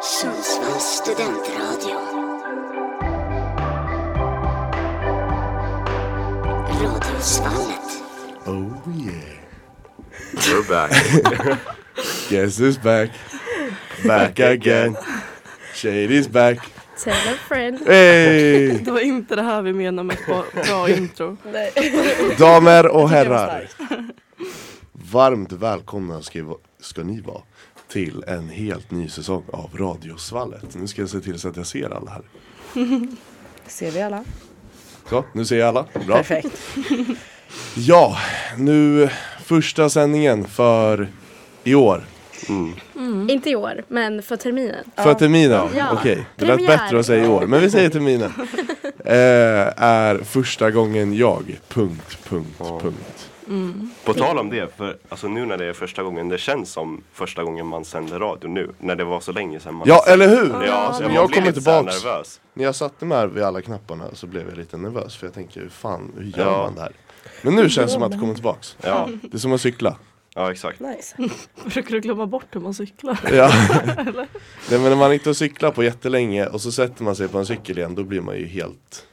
Sundsvalls studentradio. Radiosvallet. Oh yeah. We're back. Guess who's back? Back again. Shady's back. Tell a friend. Hey! Det var inte det här vi menade med ett bra, bra intro. Damer och herrar. Varmt välkomna ska, vi- ska ni vara till en helt ny säsong av Radiosvallet. Nu ska jag se till så att jag ser alla här. Ser vi alla? Så, nu ser jag alla. Bra. Perfekt. Ja, nu första sändningen för i år. Inte i år, men för terminen. För terminen? Ja. Okej, det lät Premiär. bättre att säga i år, men vi säger terminen. eh, är första gången jag... Punkt, punkt, punkt. På tal om det, för alltså, nu när det är första gången, det känns som första gången man sänder radio nu. När det var så länge sedan man Ja, eller Ja, hur? så Men man jag blir kommer lite så här tillbaks. nervös. När jag satte mig här vid alla knapparna så blev jag lite nervös, för jag tänker hur fan, hur gör Ja. man det här? Men nu känns det som att det kommer tillbaks. Ja, Det är som att cykla. ja exakt. Nice. Försöker du glömma bort hur man cyklar? Ja. Nej men när man inte har cyklat på jättelänge och så sätter man sig på en cykel igen, då blir man ju helt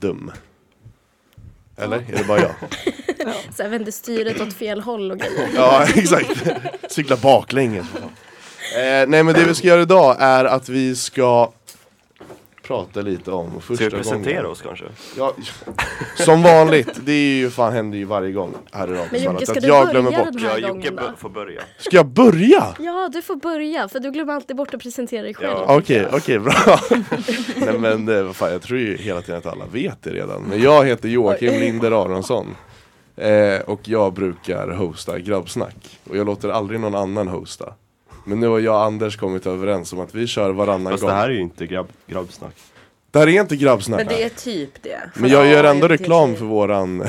dum. Eller? Är det bara jag? Så här vände styret åt fel håll och grejer. Ja, exakt. Cykla baklänges. för fan. Eh, nej, men det vi ska göra idag är att vi ska prata lite om första Ska vi presentera gången. oss kanske? Ja, som vanligt, det är ju fan händer ju varje gång här i Men radion. Jocke, ska Att du jag glömmer börja bort. den Ja, här Jocke gången bör- då? får börja. Ska jag börja? Ja, du får börja, för du glömmer alltid bort att presentera dig själv. Ja. Okej, okej, bra. nej men eh, vad fan, jag tror ju hela tiden att alla vet det redan. Men jag heter Joakim Linder Aronsson. Eh, och jag brukar hosta grabbsnack. Och jag låter aldrig någon annan hosta. Men nu har jag och Anders kommit överens om att vi kör varannan Fast gång. det här är ju inte grabb, grabbsnack. Det här är inte grabbsnack. Men det är typ det. Men jag gör Ja, ändå det är reklam typ för våran,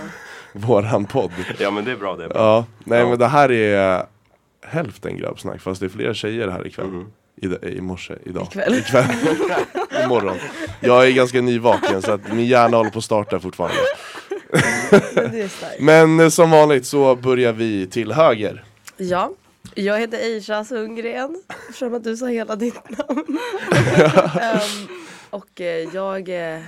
våran podd. Ja men det är bra det. Är bra. Ja, nej Ja. men det här är hälften grabbsnack fast det är fler tjejer här ikväll. Mm. I, I morse, idag, Ikväll. imorgon. Jag är ganska nyvaken så att min hjärna håller på att starta fortfarande. Men det är starkt. Men eh, som vanligt så börjar vi till höger. Ja. Jag heter Aisha Sundgren. Eftersom att du sa hela ditt namn. Ehm, och eh, jag eh,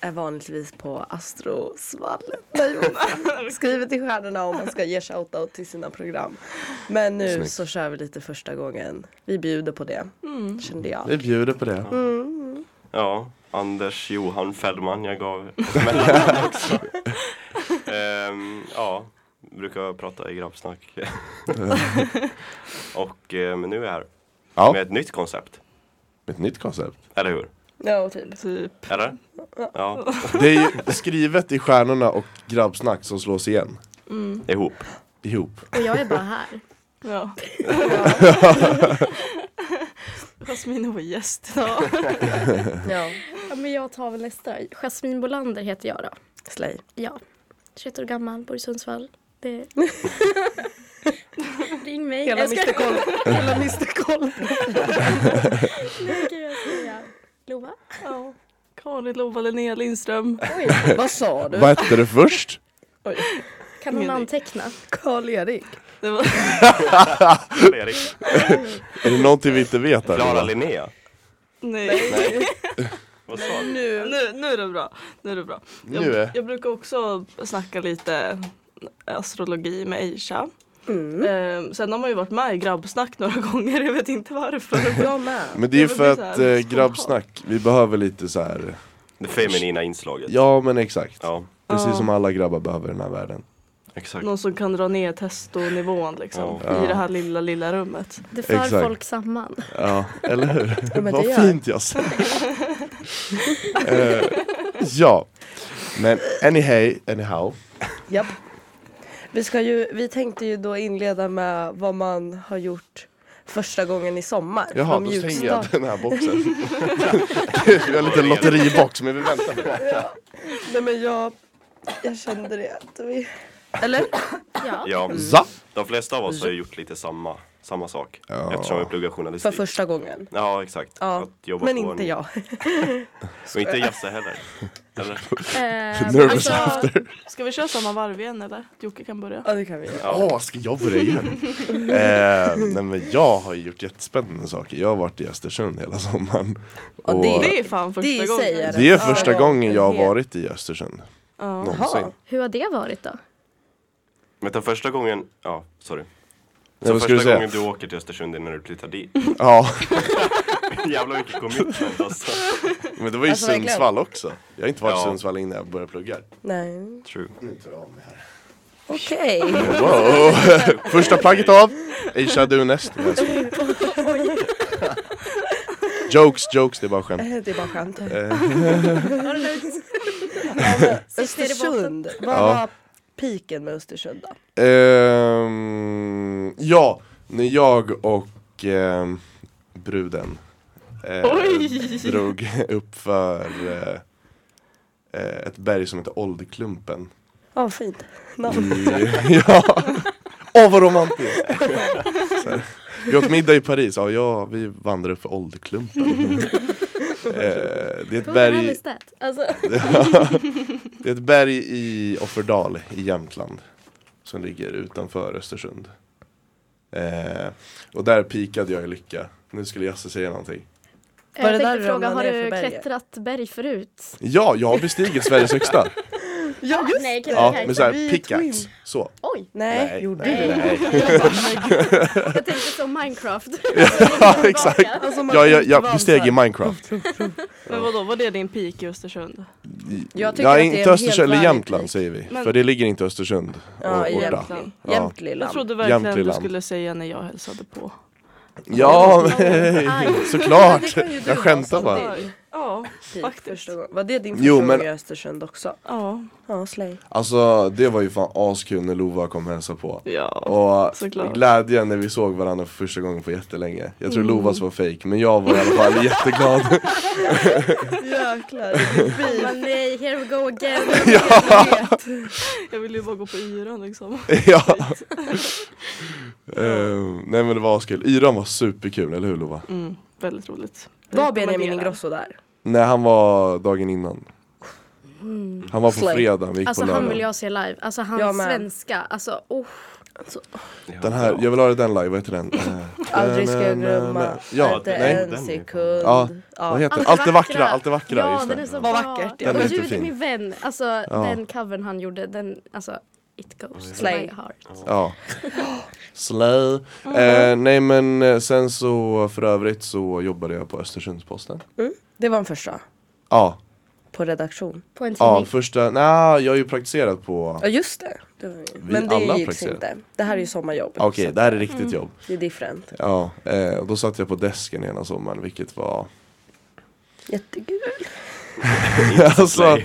är vanligtvis på Astrosvallet. Nej, vad- Skrivet i stjärnorna om man ska ge shoutout till sina program. Men nu Snyggt. så kör vi lite första gången. Vi bjuder på det. Mm. Kände jag. Vi bjuder på det. Ja, Anders Johan Fällman, jag gav ett mellannamn också. Ehm, ja, brukar prata i grabbsnack. Och eh, men nu är jag här Ja, med ett nytt koncept, ett nytt koncept. eller hur? Ja, typ. Typ. Eller? Ja, Det är ju skrivet i stjärnorna och grabbsnack som slås igen. ihop. Ihop. Och jag är bara här. Ja. Jasmine var gäst idag. Ja. Ja, men jag tar väl nästa. Jasmine Bolander heter jag då. Slay. Ja. 21 år gammal, bor i Sundsvall. Det... Ring mig. Hela Jag ska- Mr Koll. Hela Mr Koll. Nu ska jag säga Lova. Ja. Karin Lova Linnea Lindström. Vad sa du? Vad hette det först? Kan hon Ingen aning. anteckna? Karl-Erik. Det var Erik. Är det någonting vi inte vet? här, Klara Lola? Linnea. Nej. Vad sa du? Nu. Nu, nu är det bra. Nu är det bra. Jag, Nu är- jag brukar också snacka lite astrologi med Aisha. Ehm, sen har man ju varit med i grabbsnack några gånger. Jag vet inte varför. Jag med. Men det är ju Det för blir att så här eh, grabbsnack, vi behöver lite så här. Det feminina inslaget. Ja men exakt. Ja, Precis som alla grabbar behöver i den här världen. exakt. Någon som kan dra ner testonivån liksom, Ja. i det här lilla, lilla rummet. Det för Exakt. folk samman. Ja, eller hur? Ja, men det Vad gör. fint jag sa. eh, ja. Men anyhey, anyhow. Japp. Vi, ska ju, vi tänkte ju då inleda med vad man har gjort första gången i sommar. Jaha, Vad då stänger jag mjukstart- den här boxen. vi har en liten lotteribox men vi väntar på det. Nej men jag, jag kände det. Att vi... Eller? Ja. Ja, Ja. de flesta av oss har ju gjort lite samma samma sak. Ja. Eftersom jag pluggar För journalistik. första gången. Ja exakt. Ja, Att jobba Men på inte en... jag. Och inte Jasse heller. Eller? Eh, Nervous Alltså, alltså, ska vi köra samma varv igen eller? Att Jocke kan börja. Ja, det kan vi göra. Ja, ska jag börja igen? eh, nej men jag har gjort jättespännande saker. Jag har varit i Östersund hela sommaren. Ja, Och det- Det är fan första Det gången. säger det är Ja. första gången jag har varit i Östersund. Ja. Någonsin. Jaha. hur har det varit då? Vänta första gången, ja sorry. Nej, Så vad ska första du säga? gången du åker till Östersund innan du flyttar dit. Ja, Jävlar vilket commitment alltså. men det var ju Alltså, verkligen. Sundsvall också. Jag har inte varit i Ja. Sundsvall innan jag började plugga. Nej. True. Okej. Wow. Första plagget av, Aisha du är näst. Nej, jag skojar. Jokes, jokes, det är bara skämt. Eh, Det är bara skämt. Eh, Östersund. Vad Ja. var piken med Östersund då? Ehm, ja, när jag och ehm, bruden eh, Oj! drog upp för eh, eh, ett berg som heter Oldklumpen. Ja, fint. Namn. I- ja, åh vad romantiskt! Så här. Vi åt middag i Paris, ja, ja vi vandrade upp för Oldklumpen. eh, det är ett berg Berg... Alltså, det är ett berg i Offerdal i Jämtland som ligger utanför Östersund. Eh, och där pikade jag i lycka. Nu skulle Jasse säga någonting. Var jag det där tänkte du fråga, har ramlade ner du för berget? klättrat berg förut? Ja, jag har bestigit Sveriges högsta. Ja, just Nej, kan Ja, jag, med så här Vi är pickaxe. Så. Oj, Nej, gjorde du det? nej. jag tänkte som Minecraft. Ja, exakt. Alltså, man Jag, jag, inte jag var besteg så i här- Minecraft. Men vadå, var det din peak i Östersund? Jag tycker Ja, att det är en inte helt Östersund, eller värdig Jämtland pik. säger vi. Men- För det ligger inte i Östersund Ja, och i Orda. Jämtland. Ja. Jämtland. Jag trodde verkligen du Jämtland. skulle säga när jag hälsade på. Ja, Aj. Men det såklart. kan ju du Jag skämtar vara som bara. vill. Ja, Pik faktiskt. första gången. Var det din första Jo, gång men- i Östersund också? Ja, Ja, slay. Alltså det var ju fan askul när Lova kom och hälsade på. ja. Och Såklart. glädjen när vi såg varandra för första gången på jättelänge Jag tror Mm. Lovas var fake men jag var i alla fall jätteglad Jäklar. Men nej, here we go again. Jag ville ju bara gå på yran liksom. ja. Ehm, nej men det var askul, Yran var superkul, eller hur Lova? Mm, väldigt roligt. Var Benjamin Rekommenderar. Ingrosso där? Nej han var dagen innan Han var på Mm. Slay. fredag, vi gick Alltså på han vill lördag jag se live. Alltså Jag hans med. svenska. Alltså, oh. Den här, jag vill ha den live, vad heter den? Eh, Aldrig ska jag na, na, na. glömma. Ja, inte nej, en den är- sekund. ja, vad heter den? Allt det vackra, allt det vackra, Ja, just den är så det bra. Vad vackert, ja. Den är Och inte Ljud är fin. min vän. Alltså den covern han gjorde, den, alltså it goes to Slay. my heart. Ja. Slay. Eh, nej men eh, sen så för övrigt så jobbade jag på Östersundsposten. Det var en första. Ja, På redaktion. På en tidning. ja första, nej jag har ju praktiserat på Ja, just det. det var... ju- Vi Men det alla gick praktiserar. inte. Det här är ju sommarjobb. Okej, det här är riktigt jobb. Det är different. Ja, eh, och då satt jag på desken ena sommaren vilket var Jättekul. alltså,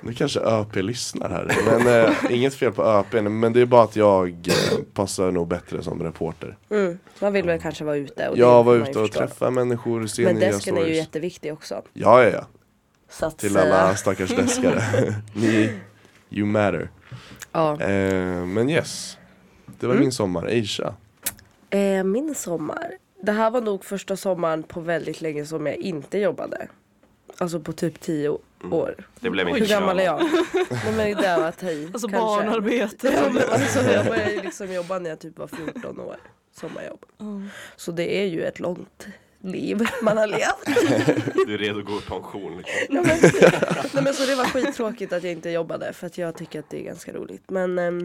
Nu kanske ÖP lyssnar här men eh, inget fel på ÖP men det är bara att jag eh, passar nog bättre som reporter. Mm. Man vill väl kanske vara ute. Och det Jag kan var man ju ute och förstå. träffade människor, se Men nya desken är ju stories. jätteviktig också. Ja, ja, ja. Så att, Till eh, alla stackars deskare. Ni, you matter. Ja. Eh, men yes, det var Mm. min sommar, Aisha. Eh, min sommar. Det här var nog första sommaren på väldigt länge som jag inte jobbade. Alltså på typ tio Mm. år. Det blev inte Hur gammal är kör. jag? Nej men det var att ta i. Alltså kanske. barnarbete. Ja, men alltså, jag började ju liksom jobba när jag typ var 14 år. Sommarjobb. Så det är ju ett långt liv man har levt. Du är redo att gå i pension liksom. Ja, men, nej, men så det var skittråkigt att jag inte jobbade för att jag tycker att det är ganska roligt. Men ehm,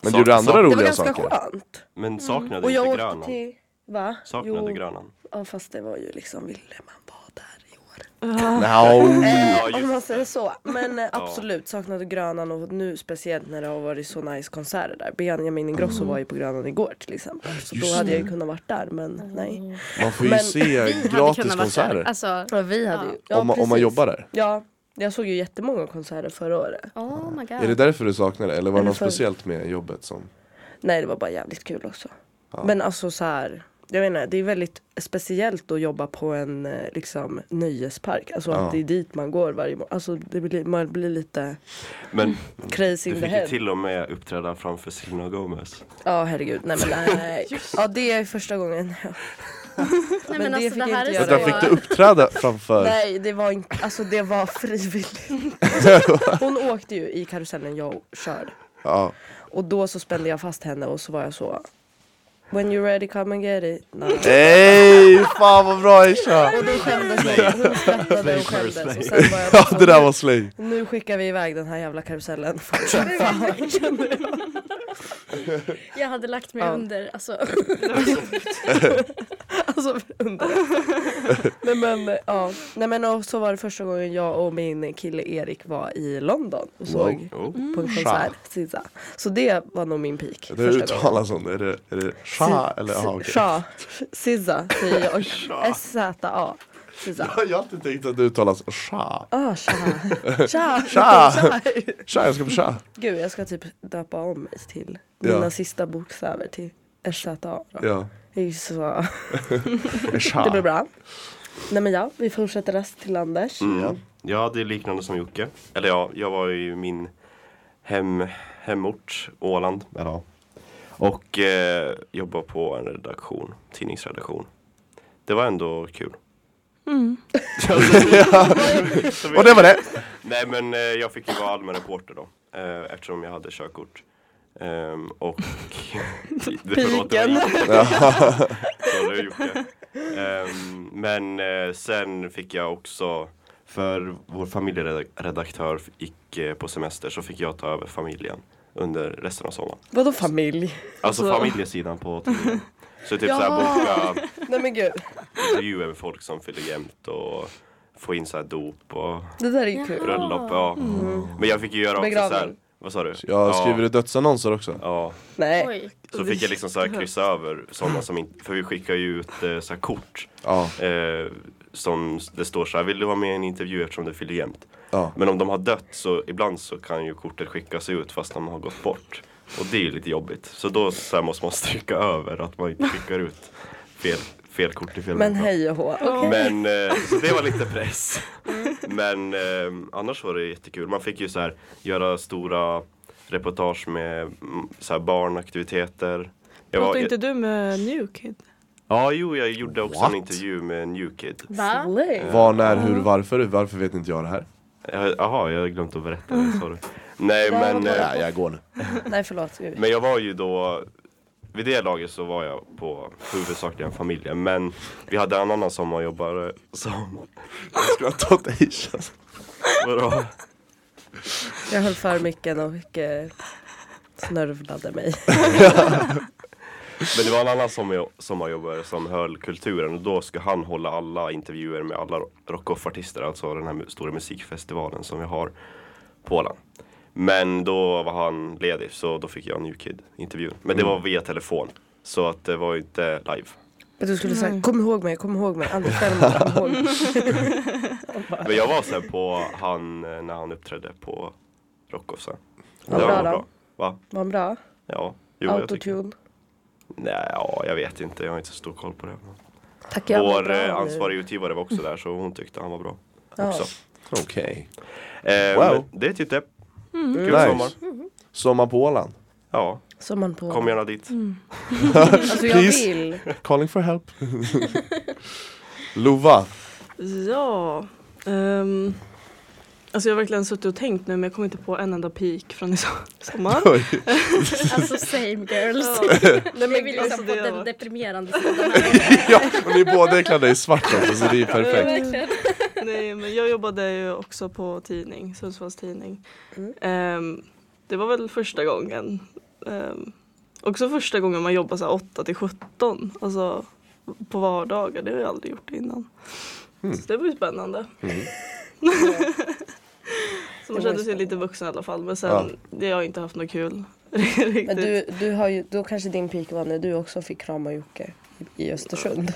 Men Sa- du gjorde andra sa- det var det var roliga ganska saker. skönt. Men saknade Mm. Och jag inte åkte Grönan? till... Va? Saknade jo, Grönan? ja, fast det var ju liksom, ville man vara där i år? No. Eh, just om man säger så. Men eh, absolut, saknade Grönan och nu speciellt när det har varit så nice konserter där. Benjamin Ingrosso var ju på Grönan igår till exempel. Så Mm. Just då hade det. jag ju kunnat varit där men nej. Man får ju Men se Vi hade gratis kunnat vara där. konserter Alltså, Ja, vi hade ju. Ja, om, man, om man precis. jobbar där. Ja, jag såg ju jättemånga konserter förra året. oh my god. Är det därför du saknar det? Eller var det Eller något för- speciellt med jobbet som... Nej det var bara jävligt kul också. Men alltså så här, jag vet inte, det är väldigt speciellt att jobba på en eh, liksom, nöjespark. Alltså Ja. att det är dit man går varje morgon. Alltså det blir, man blir lite Men crazy du in the fick ju head. till och med uppträda framför Selena Gomez. Ja herregud, nej men nej. ja det är första gången. Nej, men, det alltså, fick det jag här inte är göra. Vänta, så... fick du uppträda framför? Nej det var inte, alltså det var frivilligt. Hon åkte ju i karusellen jag körde. Ja. Och då så spände jag fast henne och så var jag så When you're ready come and get it. Nej. Nej, fan vad bra Isha! Och då skämdes hon, hon skrattade och Slay first, skämdes. Och slay. sen var jag Ja, bara så, det där var slay. Nu skickar vi iväg den här jävla karusellen. Jag hade lagt mig Ja. under. Alltså, alltså undrar. Nej men ja. Nej men och så var det första gången jag och min kille Erik var i London och såg Oh. på en konsert. Sisa. Så det var nog min peak. Det uttalas som det. Är det, är det sha eller? Ah, okej. Sha. Sisa säger jag. S-Z-A. Sisa. Jag har alltid tänkt att det uttalas sha. Ah, tja. Tja. Tja. Tja, jag ska på tja. Gud jag ska typ döpa om mig till Ja. mina sista bokstäver till SZA. då. Ja, Det är ju så- det är Det blir sha. bra. Nej men ja, vi fortsätter rast till Anders. Mm. Ja, det är liknande som Jocke. Eller ja, jag var i min hem, hemort, Åland. Ja. Och eh, jobbade på en redaktion, tidningsredaktion. Det var ändå kul. Och det var det! Nej men eh, jag fick ju vara allmän reporter då. Eh, eftersom jag hade körkort. Ehm, och... Piken! Sorry Jocke. Ehm, men eh, sen fick jag också, för vår familjeredaktör gick eh, på semester så fick jag ta över familjen under resten av sommaren. Vadå familj? Alltså Så- familjesidan på tidningen. Så typ såhär boka Nej men gud, intervjuer med folk som fyller jämt och få in såhär dop och det där är ju kul. Bröllop, ja. Men jag fick ju göra också Ah. Mm. Begravning. såhär, vad sa du? Jag skriver ja, i dödsannonser också. ja. Nej. oj. Så fick jag liksom såhär kryssa över sådana som inte, för vi skickar ju ut eh, såhär kort Ja, eh, som det står såhär, vill du vara med i en intervju eftersom det fyller jämt? ja. Men om de har dött så ibland så kan ju kortet skickas ut fast de har gått bort. Och det är ju lite jobbigt. Så då så här måste man stryka över att man inte skickar ut fel, fel kort i fel Men vecka. hej och hå. Men eh, så det var lite press. Men eh, annars var det jättekul. Man fick ju så här göra stora reportage med mm, så här barnaktiviteter. Jag var, Pratade inte du med Newkid? ja, jo, jag gjorde också What? en intervju med New Kid. Va? Slay. Var, när, hur, varför? Varför vet inte jag det här? Jag- Jaha, jag har glömt att berätta det. Sorry. Nej, Där men, var det. eh, Ja, jag går nu. Nej förlåt. men jag var ju då vid det laget så var jag på huvudsakligen familjen men vi hade en annan sommarjobbare som... Jag skulle ha tagit Aisha. Vadå? Jag höll för micken och eh, snörvlade mig. Men det var en annan sommar- sommarjobbare som höll kulturen och då ska han hålla alla intervjuer med alla rockoffartister, alltså den här mu- stora musikfestivalen som vi har på Åland. Men då var han ledig så då fick jag en New Kid-intervju. Men det var via telefon. Så att det var ju inte live. Men du skulle säga kom ihåg mig, kom ihåg mig, Anders Ferm, kom ihåg mig. Men jag var sen på han eh, när han uppträdde på Rockoff sen. Vad Det bra var då. bra. Va? Var han bra? Ja. Jo, jag tycker. Autotune. Nej, ja, jag vet inte. Jag har inte så stor koll på det. Tack jag var Vår bra nu. eh, ansvariga utgivare var också där så hon tyckte han var bra. Ja. Också. Okej. Eh, Wow. men Det är typ det. Kul Nice. sommar. Sommar på Åland. Ja, Som man på. kom gärna dit. Alltså jag Please. vill. Calling for help. Lova. Ja. ehm, alltså jag har verkligen suttit och tänkt nu men jag kommer inte på en enda peak från i so- sommar. Oj. Alltså same girls. Nej, alltså, Vi vill liksom på det den var- deprimerande sidan. ja, och ni båda klädda i svart också så det är ju perfekt. Verkligen. Nej men jag jobbade ju också på tidning, Sundsvalls tidning. Mm. Ehm, det var väl första gången. ehm, också första gången man jobbar så här 8 till 17. Alltså på vardagar, det har jag aldrig gjort innan. Så det var ju spännande. så man Det var ju kände sig lite spännande. vuxen i alla fall men sen, det har jag inte haft något kul. riktigt. Men du, du har ju, då kanske din peak var när du också fick krama Jocke i i Östersund.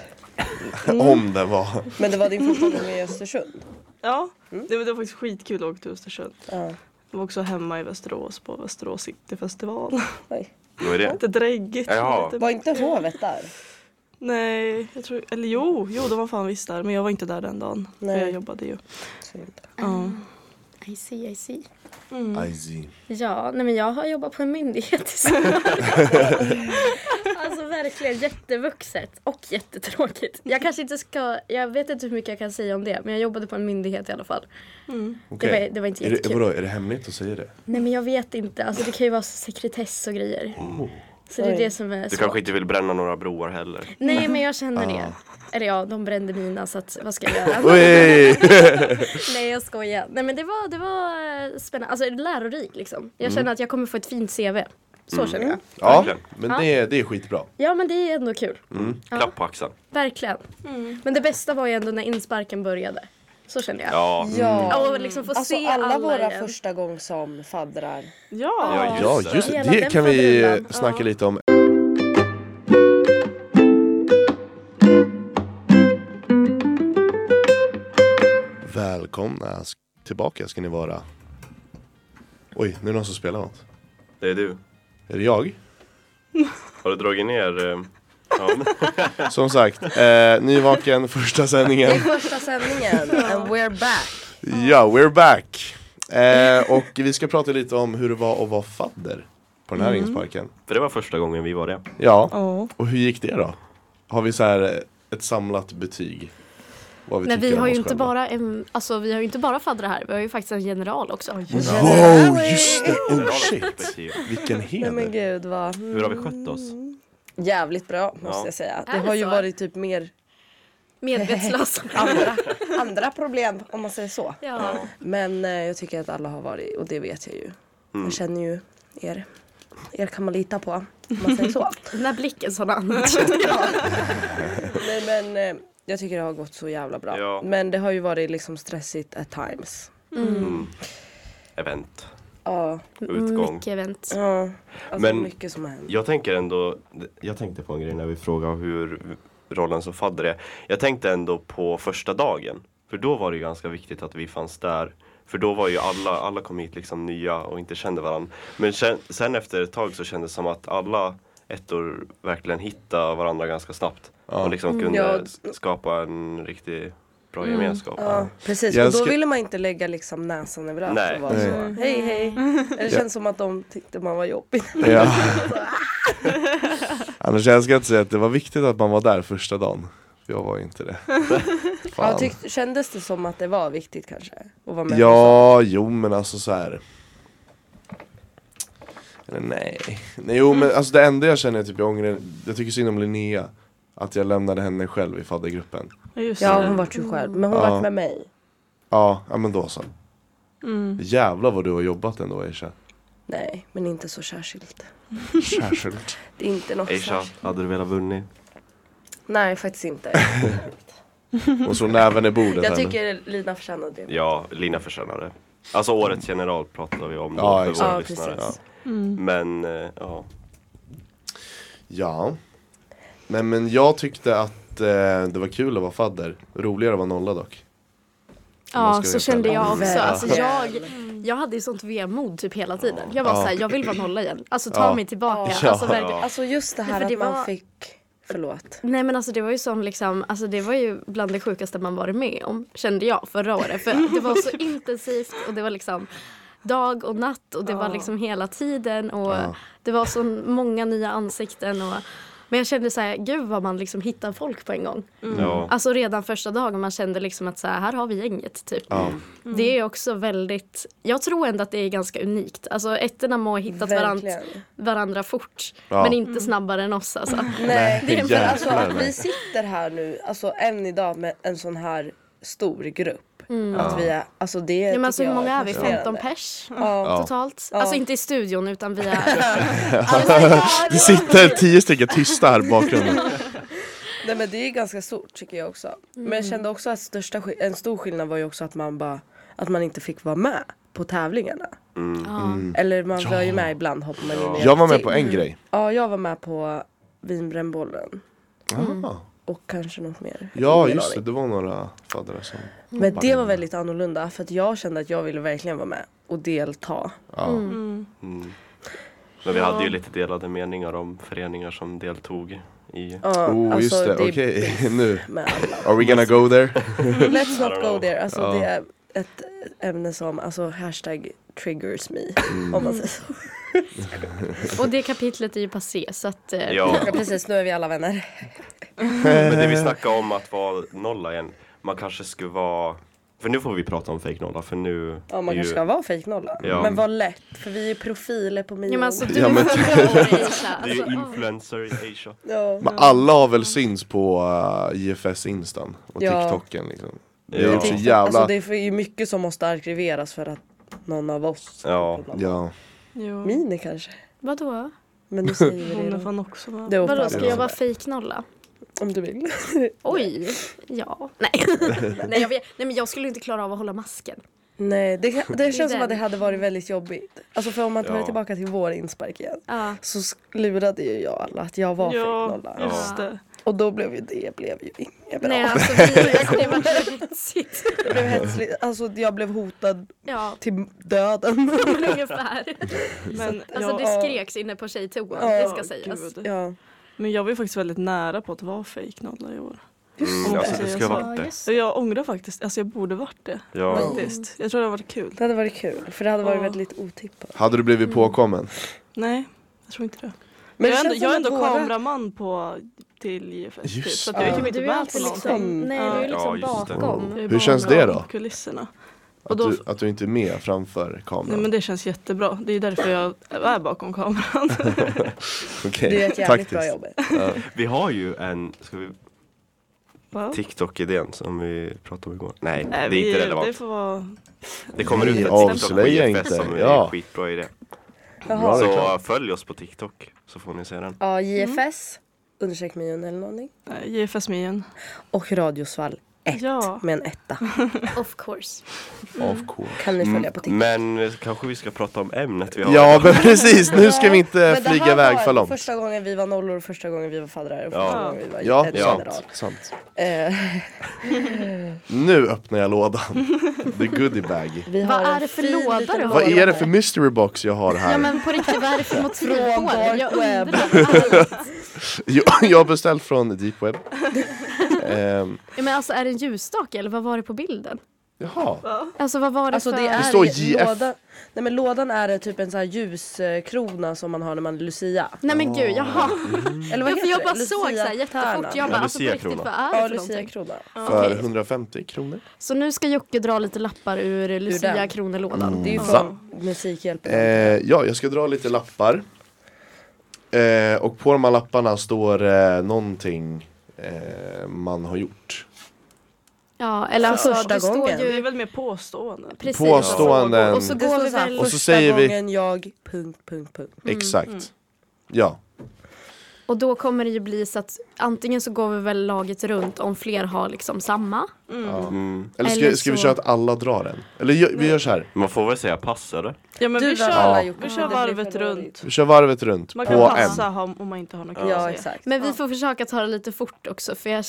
Om det var. Men det var din första gång i Östersund. Ja, Mm. det, var- det var faktiskt skitkul att åka till Östersund. Ja. Jag var också hemma i Västerås på Västerås Cityfestival. Oj. Vad är det? Lite dräggigt. Jaha. Lite... Var inte hovet där? Nej, jag tror, eller jo, jo de var fan visst där men jag var inte där den dagen. Nej. För jag jobbade ju. Mm. Ja. Ah, I see, I see. Mm. Icy. Ja, nej men jag har jobbat på en myndighet i sommar. alltså verkligen jättevuxet och jättetråkigt. Jag kanske inte ska, jag vet inte hur mycket jag kan säga om det men jag jobbade på en myndighet i alla fall. Mm. Okej. Det, var, det var inte Är det, jättekul. vadå, är det hemligt att säga det? Nej men jag vet inte, alltså det kan ju vara sekretess och grejer. Så det är Oj. det som är Du svårt. kanske inte vill bränna några broar heller. Nej men jag känner det. Eller ja, de brände mina så att, vad ska jag göra? Oj! Nej jag skojar. Nej men det var, det var eh, spännande, alltså lärorik liksom. Jag Mm. känner att jag kommer få ett fint CV. Så känner jag. Ja, Verkligen. men det, det är skitbra. Ja men det är ändå kul. Ja. Klapp på axeln. Verkligen. Men det bästa var ju ändå när insparken började. Så kände jag. Ja, Ja. Ja, Och liksom få Alltså se alla våra igen. första gång som faddrar. Ja. ja Ja just det. just det, Alltså, Hela det den kan vi eh, faderullan. snacka Ja. lite om. Välkomna sk- tillbaka ska ni vara. Oj, nu är det någon som spelar något. Det är du. Är det jag? Har du dragit ner? eh, Ja, Som sagt, eh, nyvaken första sändningen. Första sändningen, and we're back. Ja, we're back. Eh, och vi ska prata lite om hur det var att vara fadder på den här Mm. insparken. för det var första gången vi var det. Ja, Ja. och hur gick det då? Har vi så här eh, ett samlat betyg? Vad Nej tycker vi om har ju oss inte själva? bara en, alltså vi har ju inte bara faddrar här, vi har ju faktiskt en general också. Wow, just det! Oh shit! Vilken Nej men heder! gud vad Hur har vi skött oss? jävligt bra måste Ja. jag säga. Det Är det har ju så? varit typ mer Medvetslös. andra, andra problem om man säger så. ja. Men eh, jag tycker att alla har varit, och det vet jag ju. Mm. Jag känner ju er. Er kan man lita på, om man säger så. Den där blicken som han Nej men eh, jag tycker det har gått så jävla bra. Ja. Men det har ju varit liksom stressigt at times. Event. Ja, Mm. Utgång. Mycket event. ja. Alltså Men- mycket som har hänt. Jag tänker ändå, jag tänkte på en grej när vi frågade hur rollen som fadder är. Jag tänkte ändå på första dagen. För då var det ju ganska viktigt att vi fanns där. För då var ju alla, alla kom hit liksom nya och inte kände varandra. Men sen, sen efter ett tag så kändes det som att alla ettor verkligen hittade varandra ganska snabbt. Och liksom kunde Ja. Mm, s- skapa en riktigt bra gemenskap. Ja, precis. Jag Och då ska- ville man inte lägga liksom näsan över allt Nej. och vara så. Hej hej. Det känns som att de tyckte man var jobbig. Ja. Annars jag ska inte säga att det var viktigt att man var där första dagen. Jag var inte det. Ja, Fan. tyck, kändes det som att det var viktigt kanske? Att vara med Ja, jo men alltså så här. Eller nej. nej. Jo men alltså det enda jag känner typ jag ångrar, jag tycker synd om Linnea. Att jag lämnade henne själv i faddergruppen. Ja, just Ja, det. hon vart ju själv. Men hon Ja. vart med mig. Ja, ja men då så. Mm. Jävlar vad du har jobbat ändå Aisha. Nej, men inte så särskilt. Särskilt. Det är inte något Aisha, särskilt. hade du velat vunnit? Nej, faktiskt inte. Och så näven i bordet Jag här nu. tycker Lina förtjänade det. Ja, Lina förtjänar det. Alltså årets general pratar vi om då Ja, för exakt. våra Mm. Ja, lyssnare. precis. Men eh, ja. Ja. Nej men jag tyckte att eh, det var kul att vara fadder. Roligare att vara nolla dock. Man ska veta Ja, så kände det. jag också. Alltså, Verkligen. jag, jag hade ju sånt vemod typ hela tiden. Jag var Ja. såhär, jag vill vara nolla igen. Alltså ta Ja. mig tillbaka. Ja. Alltså, verkligen. Ja. Alltså just det Nej, här för det att man var- fick... Förlåt. Nej men alltså det var ju som liksom, alltså det var ju bland det sjukaste man varit med om kände jag förra året. För det var så intensivt och det var liksom dag och natt och det var liksom hela tiden och det var så många nya ansikten och men jag kände så här, gud vad man liksom hittar folk på en gång. ja. Alltså redan första dagen man kände liksom att så här, här har vi gänget typ. Det är också väldigt, jag tror ändå att det är ganska unikt. Alltså ettorna må ha hittat varandra, Verkligen. varandra fort Ja. men inte snabbare än oss alltså. Nej, Det är men alltså jävlar, att nej. vi sitter här nu, alltså än idag med en sån här stor grupp. Att vi är, alltså det Mm. Ja, men tycker alltså, hur jag många är vi? fascinerande. 15 pers? Ja. Totalt. Ja. Alltså inte i studion utan via... Det sitter tio stycken tysta här i bakgrunden. Nej men det är ganska stort tycker jag också. Men Mm. jag kände också att största, skill- en stor skillnad var ju också att man bara, att man inte fick vara med på tävlingarna. mm, Eller man var ju med ibland hoppar man ju med. Jag var med till. på en grej. Ja jag var med på vinbrännbollen. Mm. Ah. Och kanske något mer. Ja Ingen just det, aning. det var några faddrar som Men det var väldigt annorlunda för att jag kände att jag ville verkligen vara med och delta. Ja. Mm. mm. Men vi hade ju lite delade meningar om föreningar som deltog i... Ja, Oh alltså, just det, är okej nu. med alla. Are we gonna go there? Let's I not don't go know. there. Alltså Ja. det är ett ämne som, alltså hashtag triggers me. Mm. Om man säger så. Och det kapitlet är ju passé så att eh, Ja, Ja, precis, nu är vi alla vänner. men det vi snackade om att vara nolla igen. Man kanske skulle vara... För nu får vi prata om fake nolla för nu... Ja, man är ju- kanske ska vara fake nolla. Ja. Men vad lätt, för vi är ju profiler på Mio. Ja, men alltså, du Ja, är men- hundra år Aisha. Det är Alltså, ju åh. influencer i Asia. Ja. Men alla har väl syns på uh, IFS instan och Ja. TikToken liksom. Det Ja. är också jävla... Alltså det är ju mycket som måste arkiveras för att någon av oss Ja. Ja. Jo. Mini kanske. Vadå? Men nu säger vi Hon det är då. fan också med. Det är Vadå, oklart. ska jag vara fejknolla? Om du vill. Oj, ja. Nej. Nej, jag vet. Nej, men jag skulle inte klara av att hålla masken. Nej, det, kan- det känns som att det den. hade varit väldigt jobbigt. Alltså för om man tar det Ja. tillbaka till vår inspark igen. Ja. Så sk- lurade ju jag alla att jag var Ja, fake nolla. just det. Och då blev ju det blev ju inget bra. Nej, alltså vi, det var hetsigt. Det blev hetsligt. Alltså jag blev hotad Ja, till döden. ungefär. Men, Alltså jag, det skreks inne på tjejtoan, Ja, det ska sägas. Gud. ja. men jag var ju faktiskt väldigt nära på att vara fake nolla i år. Mm, alltså det skulle ha varit det. Och Jag ångrar faktiskt, alltså jag borde varit Mm. det. Ja. Faktiskt. Jag tror det hade varit kul. Det hade varit kul för det hade varit Ja. väldigt otippat. Hade du Mm. blivit påkommen? Nej, jag tror inte det. Men jag är det ändå, känns jag är som ändå att våra- kameraman på till IFS typ, Just så att jag är det. typ inte Du är med på alltid någonting. liksom, nej, du är Ja, liksom just det. bakom. Jag är Hur känns bakom det då? Kulisserna. Och Att då, du, att du inte är med framför nej kameran? men det känns jättebra. Det är därför jag är bakom kameran. Okej, Det är ett jävligt bra jobb. Vi har ju en... Ska vi... Va? TikTok-idén som vi pratade om igår. Nej, det Nej, är vi- inte relevant. Det får vara... Det kommer ut Nej, en TikTok på avslöja IFS inte. som är Ja. skitbra idé. Ja, Jaha. det är Så klart. följ oss på TikTok så får ni se den. Ja, JFS, undersök Mion eller någonting. Nej, IFS med igen. Och Radiosvall 1 Ja. med en etta. Mm, Of course. Of course. Kan ni följa på TikTok. Men eh, kanske vi ska prata om ämnet vi har. Ja men precis, nu ska vi inte Men det flyga här iväg var för långt. Första gången vi var nollor, första gången vi var faddrar och Ja. första gången vi var Ja, en ja. general. sant. Eh, Nu öppnar jag lådan. The goodie bag. vi Vad har en är det för fin låda liten du har? Vad är det för mystery box jag har Ja här? men på riktigt, vad är det för motiv Från på den? Jag dark web. undrar. Jag, jag har beställt från deep web. Ehm, Ja, men alltså är det en ljusstake eller vad var det på bilden? jaha, Alltså vad var det Alltså för... det är står JF. lådan, nej men lådan är typ en sån här ljuskrona som man har när man är Lucia. Nej men gud, jaha. Eller vad Mm. Ja, för heter jag det? bara såg så här Luciatärna. jättefort. Jag bara, alltså på Lucia riktigt, krona. vad är det Ja, för någonting? Lucia-krona. för Okej. 150 kronor. Så nu ska Jocke dra lite lappar ur Lucia den. Kronelådan. Mm. Det är ju Va? från Musikhjälpen. Eh, ja, jag ska dra lite lappar. Eh, och på de här lapparna står eh, någonting eh, man har gjort. Ja, eller alltså Första det står gången. Det är ju väl mer påståenden. precis Påståenden. Och så Det går står vi så här, väl... och första så säger vi- gången jag... Punkt, punkt, punkt. Exakt. Ja. Och då kommer det ju bli så att antingen så går vi väl laget runt om fler har liksom samma. Mm. Eller ska, Eller ska vi så- köra att alla drar en? Eller gö- vi gör så här. Man får väl säga pass eller? Ja men Du vi drar kör, alla, Jocke. vi Det kör blir varvet för runt. dåligt. Vi kör varvet runt Man kan på passa en. ha- om man inte har något kul Ja, att säga. exakt. Men vi får försöka ta det lite fort också för jag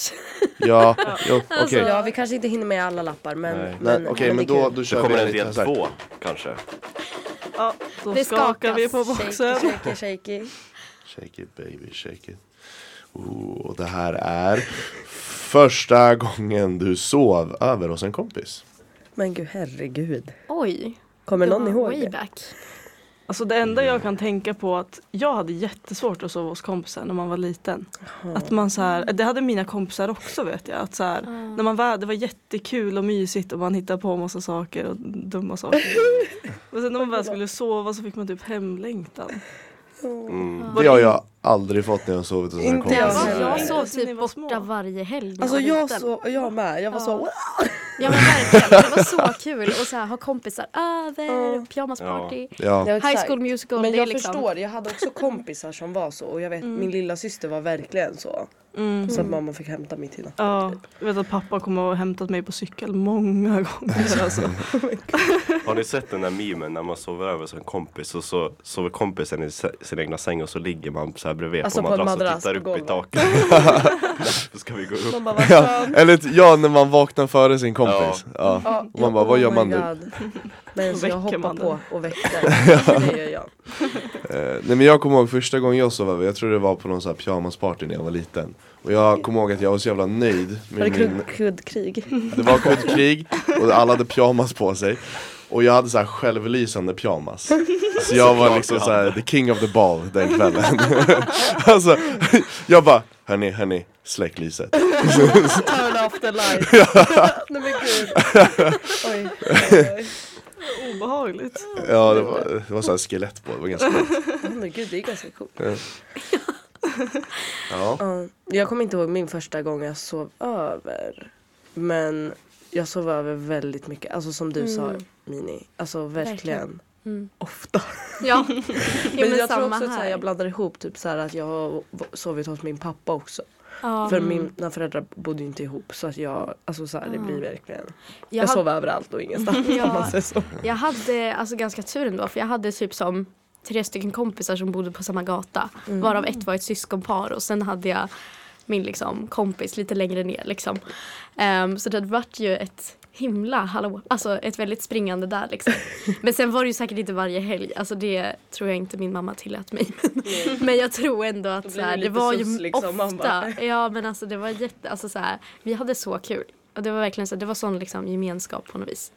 Ja, jo, okej. Ja, vi kanske inte hinner med alla lappar men... Nej. Nej, men, Okej, det men är då, kul. då Det kör vi kommer en en del liten så här. två kanske. Ja, då Det skakar skakas. vi på Shaky, boxen. shaky, shaky. Shake it baby, shake it. Oh, och det här är första gången du sov över hos en kompis. Men gud, herregud. Oj. Kommer det någon var ihåg way det? back. Alltså det enda jag kan tänka på är att jag hade jättesvårt att sova hos kompisar när man var liten. Att man så här, eh, det hade mina kompisar också vet jag. Att så här, Ah. när man var, det var jättekul och mysigt och man hittade på massa saker och dumma saker. och sen när man väl skulle sova så fick man typ hemlängtan. Det har jag aldrig fått när jag har sovit hos en Inte jag kompis. heller. Jag Nej. sov Alltså, ni typ var små. borta varje helg när Alltså var jag, liten. så, jag med, jag var så... "Wow." Ja men verkligen, det var så kul och så här, ha kompisar över, pyjamasparty. Ja. High exakt. School Musical, Men det är jag liksom... förstår, jag hade också kompisar som var så och jag vet min lilla syster var verkligen så. Så att mamma fick hämta mig till natten. Ja, jag vet att pappa kommer och har hämtat mig på cykel många gånger. Alltså. Har ni sett den där memen när man sover över som en kompis och så sover kompisen i se- sin egna säng och så ligger man så här bredvid Alltså, på på en en madrass och madrass tittar på upp i golvet. taket. Då ska vi gå upp. Man bara, vad Ja, eller ett- ja, när man vaknar före sin kompis. Ja. Ja. Ja, oh Och man bara, vad gör my man nu? God. Nej, så jag Väcker hoppar man den? på och väcker. Det gör jag. Eh, nej men jag kommer ihåg första gången jag sov över, jag tror det var på någon sån här pyjamasparty när jag var liten. Och jag kommer ihåg att jag var så jävla nöjd Var det med min... kudd- kuddkrig? Det var kuddkrig och alla hade pyjamas på sig. Och jag hade så här självlysande pyjamas. Så jag var liksom så här the king of the ball den kvällen. alltså, jag bara, hörni, hörni, släck lyset. Turn off the light. Nej men gud. Oj. oj, oj. Obehagligt. Ja, det var, det var så här skelett på, det var ganska coolt. Ja, Men gud, Oh det är ganska coolt. Ja. Ja, jag kommer inte ihåg min första gång jag sov över. Men jag sov över väldigt mycket. Alltså som du sa Mini. Alltså verkligen. Mm. Verkligen. Mm. Ofta. Ja, jo, men, Men jag tror samma också att så här. här, jag blandar ihop typ så här att jag har sovit hos min pappa också. ja. Mm. För mina föräldrar bodde ju inte ihop så att jag, alltså så här, det blir verkligen. Jag, hade- sov överallt och ingenstans. Ja. om man säger så. Jag hade alltså ganska tur ändå för jag hade typ som tre stycken kompisar som bodde på samma gata. Mm. Varav ett var ett syskonpar och sen hade jag min liksom, kompis lite längre ner. Liksom. Ehm, så det vart ju ett himla hallå, alltså ett väldigt springande där liksom. Men sen var det ju säkert inte varje helg, alltså det tror jag inte min mamma tillät mig. men jag tror ändå att så blir det här, det lite var ju sus, liksom, ofta, mamma. ja men alltså det var jätte, alltså så här, vi hade så kul. Och det var verkligen så, det var sån liksom gemenskap på något vis.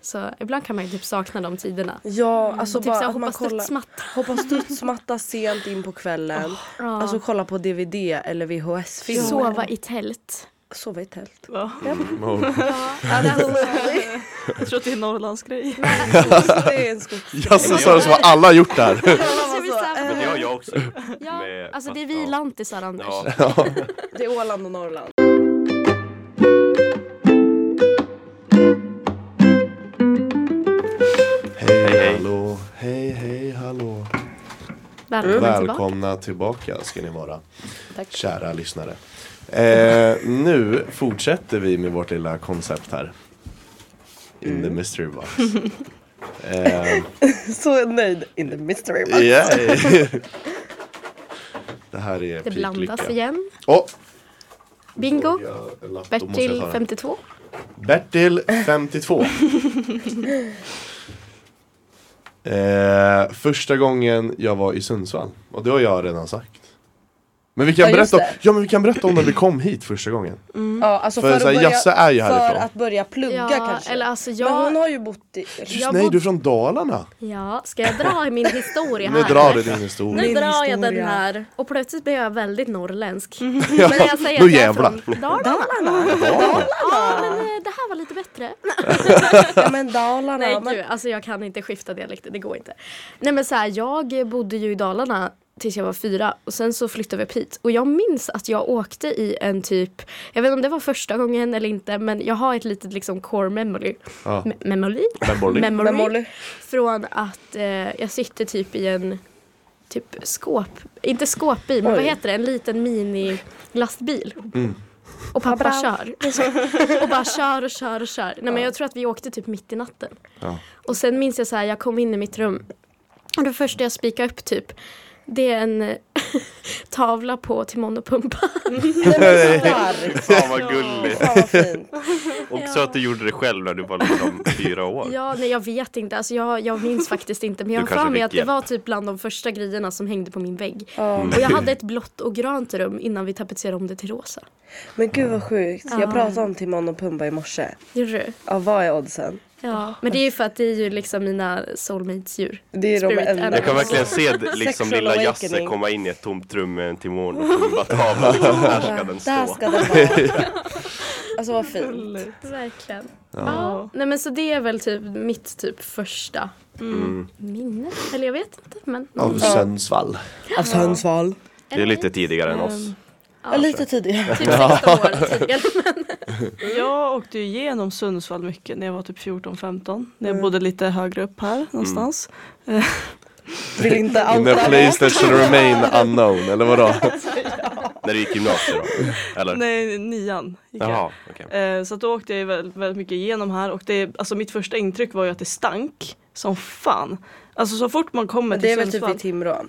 Så ibland kan man ju typ sakna de tiderna. Ja, alltså typ bara så här, att man hoppa kollar. studsmatta. Hoppa studsmatta sent in på kvällen. ja. Alltså kolla på DVD eller VHS-film. Sova i tält. Sova i tält. Va? Oh. Jag tror att det är en Norrlandsgrej. det är en Alltså, skogs... Jaså sa du som att alla har gjort det här? Så vi så här- eh, Men det har jag också. ja, med alltså det är pappa. vi lantisar Anders. Ja. Det är Åland och Norrland. Hej, hej. hallå, hej, hej, hallå. Välkommen tillbaka. Välkomna tillbaka ska ni vara. Kära lyssnare. Eh, nu fortsätter vi med vårt lilla koncept här. In the mystery box. eh, Så nöjd. In the mystery box. yay. Det här är Det blandas piklycka. igen. Åh! Bingo. Jag- en lapp, då måste jag Bertil ta den. 52. Bertil 52. eh, första gången jag var i Sundsvall. Och det har jag redan sagt. Men vi kan, Ja, just berätta, om, det. ja, men vi kan berätta om när vi kom hit första gången. Mm. Ja, alltså För så här, Jasse är ju för härifrån. att börja plugga Ja, kanske. eller alltså Men hon jag... har ju bott i... Just, jag nej, bod- du är från Dalarna. Ja, ska jag dra min historia Nu här? drar du din historia. Nu Min drar jag historia. den här och plötsligt blir jag väldigt norrländsk. Ja, Men jag säger nu att jag är jävlar. från Dalarna. Dalarna. Ja, men eh, det här var lite bättre. Ja men Dalarna. Nej men, gud, alltså jag kan inte skifta dialekter, det går inte. Nej men så här, jag bodde ju i Dalarna tills jag var fyra och sen så flyttade vi upp hit. Och jag minns att jag åkte i en typ, jag vet inte om det var första gången eller inte, men jag har ett litet liksom core memory. Ja. Me- memory? Memory. men Molly, Från att eh, jag sitter typ i en typ skåp, inte skåpbil, men Oj. vad heter det, en liten minilastbil. Mm. Och pappa kör. och bara kör och kör och kör. Nej, men jag tror att vi åkte typ mitt i natten. Ja. Och sen minns jag så här, jag kom in i mitt rum. Och det första jag spikade upp typ, det är en eh, tavla på Timon och Pumba. Nej men stark. Fan vad gulligt. Fan vad fint. Och så att du gjorde det själv när du var liksom fyra år. Ja, nej jag vet inte. Alltså, jag, jag minns faktiskt inte. Men jag Du har kanske för mig fick att det hjälp. var typ bland de första grejerna som hängde på min vägg. Ja. Och jag hade ett Mm. blått och grönt rum innan vi tapetserade om det till rosa. Men gud vad sjukt. Ja. Jag pratade om Timon och Pumba i morse. Gjorde du? Ja vad är oddsen? Ja. Men det är ju för att det är ju liksom mina soulmates-djur. Det är Spirit de enda. animals. Jag kan verkligen se d- liksom Alltså, Sexual lilla Jasse awakening. komma in i ett tomt rum med en timon och Pumba-tavla. Där Liksom, ska den Där stå. ska den vara. Alltså vad fint. Verkligen. Ja. Nej men så det är väl typ mitt typ första Mm. minne. Eller jag vet inte. Men... typ Av Sundsvall. Av Sundsvall. Det är lite tidigare än Ehm. oss. Ja, lite tidigare. Typ 16 år tidigare. Jag åkte ju igenom Sundsvall mycket när jag var typ 14-15. När jag bodde lite högre upp här någonstans. Vill inte In the outa place that shall remain unknown, eller vadå? När du gick gymnasiet då? Eller? Nej, nian gick jag. Mm. Jaha, okej. Eh, Så att då åkte jag ju väldigt, väldigt mycket igenom här och det, alltså mitt första intryck var ju att det stank som fan. Alltså så fort man kommer Det är till väl typ Sundsvall. vid Timrå.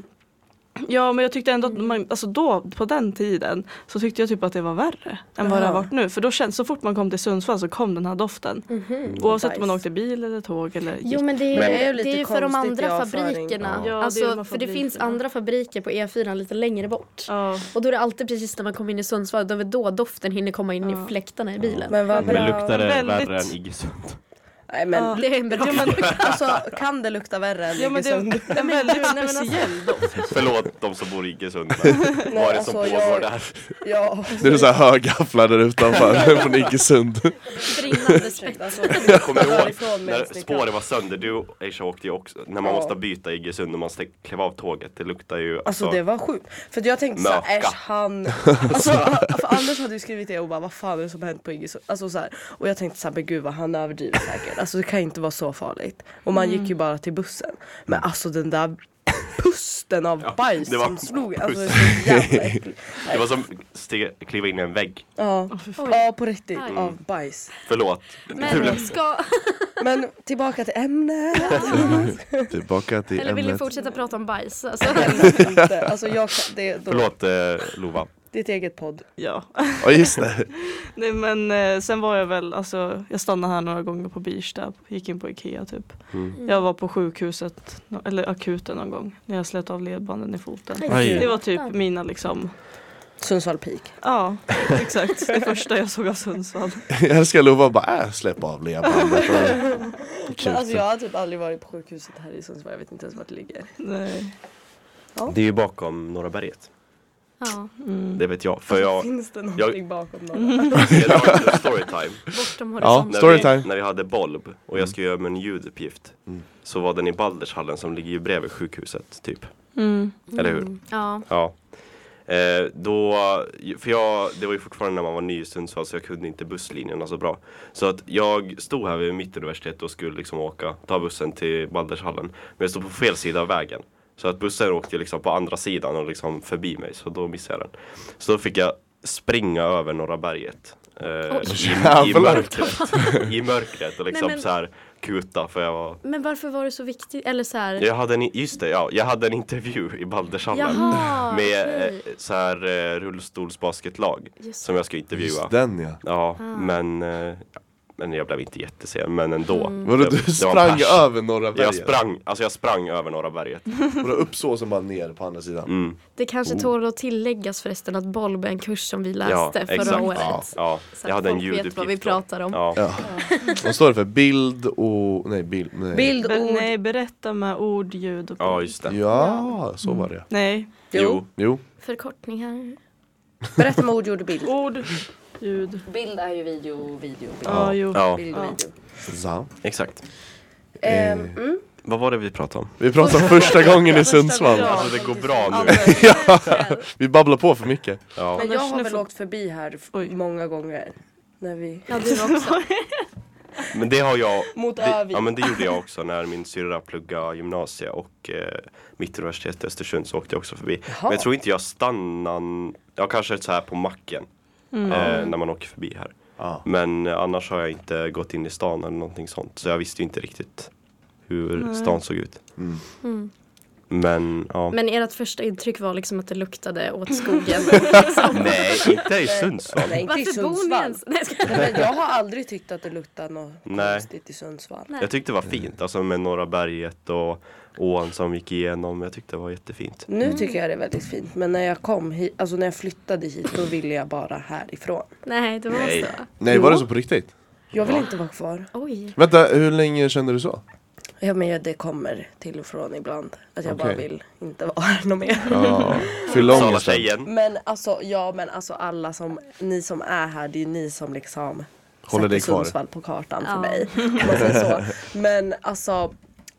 Ja men jag tyckte ändå att man, alltså då, på den tiden så tyckte jag typ att det var värre än vad det har Jaha. varit nu. För då känns, så fort man kom till Sundsvall så kom den här doften. Oavsett om man Nice. åkte bil eller tåg eller Jo men det är, Men det det är är ju ju lite för de konstigt i andra avföring. fabrikerna. Ja. Ja, det är alltså, de här för det finns fabrikerna. andra fabriker på E4 lite längre bort. Ja. Och då är det alltid precis när man kommer in i Sundsvall, då är det då doften hinner komma in Ja. i fläktarna i bilen. Men vad Men bra. luktar det Väldigt- värre än Iggesund? Nej men Ja. Det är en bra Ja, men, alltså kan det lukta värre än liksom- ja, men det Iggesund? är en väldigt Nej, men alltså- speciell doft. Förlåt de som bor i Iggesund. Nej, Vad är det som alltså, pågår jag- där? Ja. Det är så här högafflar där utanför från Iggesund. brinnande svett. Alltså, Jag kommer ihåg Därifrån när minst ni kan. spåren var sönder, du och Aisha åkte ju också, när man Ja. måste byta i Iggesund och man ska kliva av tåget, det luktar ju Alltså det var sjukt. För jag tänkte såhär, Möka. äsch han. Alltså, för Anders hade ju skrivit det och bara vad fan är det som har hänt på Iggesund? Alltså, så här. och jag tänkte såhär, men gud vad han överdriver säkert. Alltså det kan ju inte vara så farligt. Och man gick ju bara till bussen. Men alltså den där pusten av bajs Mm. det var som slog. pus. Alltså det är så jävla äckligt. det var som ste- kliva in i en vägg. Ja. ja på riktigt, Aj. av bajs. Förlåt. Men ska, Men tillbaka till ämnet. Alltså, Tillbaka till eller vill ni ämnet. fortsätta prata om bajs? Alltså, Inte. Alltså jag kan, det, är då, Förlåt eh, Lova. ditt eget podd. Ja. Ja just det. Nej men eh, sen var jag väl, alltså jag stannade här några gånger på Birsta, gick in på Ikea typ. Jag var på sjukhuset, nå- eller akuten någon gång, när jag slet av ledbanden i foten. Aj. Mm. Det var typ mina liksom, Sundsvall Peak. ja exakt, det första jag såg av Sundsvall. Jag älskar Lova och bara äh, släpp av ledbandet. och- Alltså jag har typ aldrig varit på sjukhuset här i Sundsvall, jag vet inte ens vart det ligger. Nej. Det är ju bakom Norra berget. ja, Det vet jag. För jag, Finns det någonting bakom någon? jag drar lite storytime. bortom Ja, horisonten. När storytime. vi, när vi hade Bolb och jag skulle göra min ljuduppgift så var den i Baldershallen som ligger ju bredvid sjukhuset typ. Mm. Eller hur? Ja. Ja. Eh, då, för jag, det var ju fortfarande när man var ny i Sundsvall så alltså, jag kunde inte busslinjerna så bra. Så att jag stod här vid Mittuniversitetet och skulle liksom åka, ta bussen till Baldershallen. Men jag stod på fel sida av vägen. Så att bussen åkte ju liksom på andra sidan och liksom förbi mig så då missade jag den. Så då fick jag springa över Norra berget. eh, i, i, jävlar. mörkret, I mörkret och liksom men- så här kuta för jag var Men varför var det så viktigt? Eller så här, jag hade en, just det, ja, jag hade en intervju i Baldershallen Jaha, med okej. eh, så här eh, rullstolsbasketlag Just Ah. som jag skulle intervjua. Just den ja. Ja, men, eh, ja, men jag blev inte jättesen, men ändå. Mm. Vadå Det- du det var en sprang pers. över Norra Jag berget? sprang, alltså jag sprang över Norra berget. Mm. Vadå upp så som bara ner på andra sidan? Mm, det kanske tål att tilläggas förresten att Bolb är en kurs som vi ja, läste förra exakt. året. Ja, ja. Så att Jag hade en folk ljuduppgift. vet vad vi då. pratar om. Ja. Ja. Vad står det för? Bild och... Nej, bild... Nej. Bild, Be- ord, nej, berätta med ord, ljud och ja, just det. Ja, så var det. Nej, jo. Jo. Jo. Förkortningar. Berätta med ord, ljud och bild. ord, ljud. Bild är ju video, video, bild. Ja, jo. Ja, Bild och Ja. video. Så. exakt. Ehm, Eh, mm. Vad var det vi pratade om? Vi pratar om första gången i Sundsvall. Ja. Alltså det går bra Ja, nu. men- Vi babblar på för mycket. Ja. Men jag har väl Annars- åkt förbi här f- Oj. många gånger. När vi... Ja, du också. Men det har jag Mot det, Örvik. Ja men det gjorde jag också när min syrra pluggade gymnasiet och eh, Mittuniversitetet i Östersund så åkte jag också förbi. Men jag tror inte jag stannade, ja kanske så här på macken eh, när man åker förbi här. Ja. Men eh, annars har jag inte gått in i stan eller någonting sånt så jag visste ju inte riktigt hur stan såg ut. Men ja. Men ert första intryck var liksom att det luktade åt skogen. Nej, inte i Sundsvall. Nej, inte i Varför bor ni Sundsvall. ens? Nej, jag skojar. Nej, men jag har aldrig tyckt att det luktar något Nej. konstigt i Sundsvall. Nej. Jag tyckte det var fint, alltså med Norra berget och ån som gick igenom. Jag tyckte det var jättefint. Nu tycker jag det är väldigt fint men när jag kom hit, alltså när jag flyttade hit då ville jag bara härifrån. Nej, det var Nej. så. Nej, var det så på riktigt? Jag vill inte vara kvar. Oj. Vänta, hur länge kände du så? Ja men jag- det kommer till och från ibland. Att jag bara Okej. vill inte vara här någon mer. Ja. Fylla om Sala just den. tjejen. Men alltså, ja men alltså alla som, ni som är här, det är ju ni som liksom Håller dig sätter kvar. Sundsvall på kartan Ja. för mig. om man säger så. Men alltså,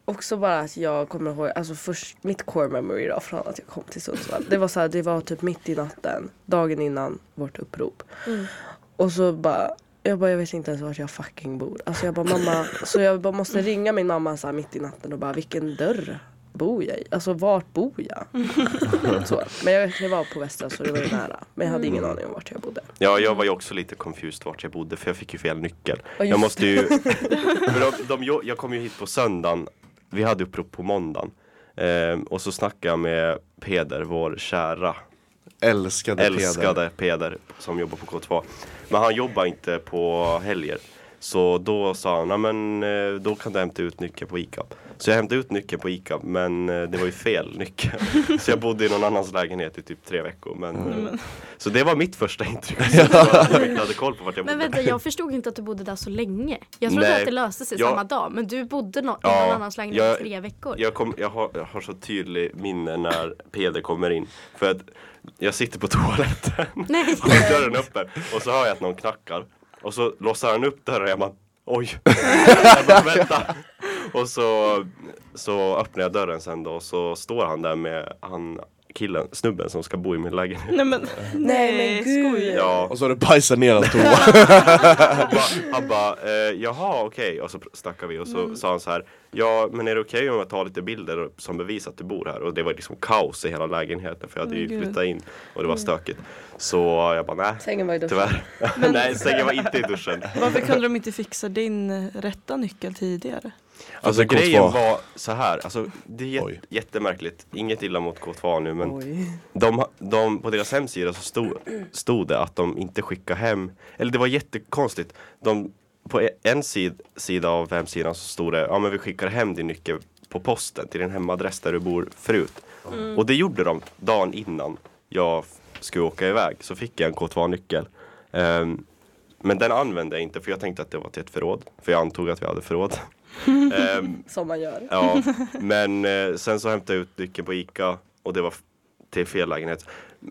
också bara att jag kommer ihåg, alltså först, mitt core memory då från att jag kom till Sundsvall. Det var så här, det var typ mitt i natten, dagen innan vårt upprop. Och så bara jag bara, jag vet inte ens vart jag fucking bor. Alltså jag bara, mamma, så jag bara måste ringa min mamma så här mitt i natten och bara, vilken dörr bor jag i? Alltså vart bor jag? Så. Men jag jag var på Västra så det var ju nära. Men jag hade ingen aning om vart jag bodde. Ja, jag var ju också lite confused vart jag bodde för jag fick ju fel nyckel. just jag måste ju... för de, de, jo- jag kom ju hit på söndagen, vi hade upprop på måndagen. Eh, Ehm, och så snackade jag med Peder, vår kära Älskade, Peder. älskade Peder som jobbar på K2. Men han jobbar inte på helger. Så då sa han, "Ja, men eh, då kan du hämta ut nyckeln på ICAP. Så jag hämtade ut nyckeln på ICAP men eh, det var ju fel nyckel. Så jag bodde i någon annans lägenhet i typ tre veckor. Men, eh, Så det var mitt första intryck. Jag hade koll på vart jag Men bodde. vänta, jag förstod inte att du bodde där så länge. Jag trodde Nej. att det löste sig Ja. samma dag. Men du bodde no- i Ja, någon annans lägenhet jag- i tre veckor. Jag, kom, jag, har, jag har så tydlig minne när Peder kommer in. För att jag sitter på toaletten Nej. och har dörren öppen och så hör jag att någon knackar. Och så låser han upp dörren och jag bara oj. jag bara, vänta. Och så, så öppnar jag dörren sen då och så står han där med han killen, snubben som ska bo i min lägenhet. Nej men, Nej, men gud. skoja. Ja, Och så har du bajsat ner hans toa. han bara, han bara eh, jaha okej. Och så pr- snackar vi och så sa han så här. Ja men är det okej om jag tar lite bilder som bevis att du bor här? Och det var liksom kaos i hela lägenheten för jag hade ju Gud. flyttat in och det var stökigt. Så jag bara nej. Sängen var ju duschen. Tyvärr. Nej, sängen var inte i duschen. Varför kunde de inte fixa din eh, rätta nyckel tidigare? Alltså Att det är grejen K2. var så här, alltså det är Oj. jät- jättemärkligt, inget illa mot K2 nu men Oj. de, de, på deras hemsida så stod, stod det att de inte skickar hem, eller det var jättekonstigt. De, på e- en sid, sida av hemsidan så stod det, ja men vi skickar hem din nyckel på posten till din hemadress där du bor förut. Och det gjorde de dagen innan jag f- skulle åka iväg, så fick jag en K2-nyckel. Ehm, men den använde jag inte för jag tänkte att det var till ett förråd, för jag antog att vi hade förråd. Ehm, Som man gör. Ja, men eh, sen så hämtade jag ut nyckeln på Ica och det var f- till fel lägenhet.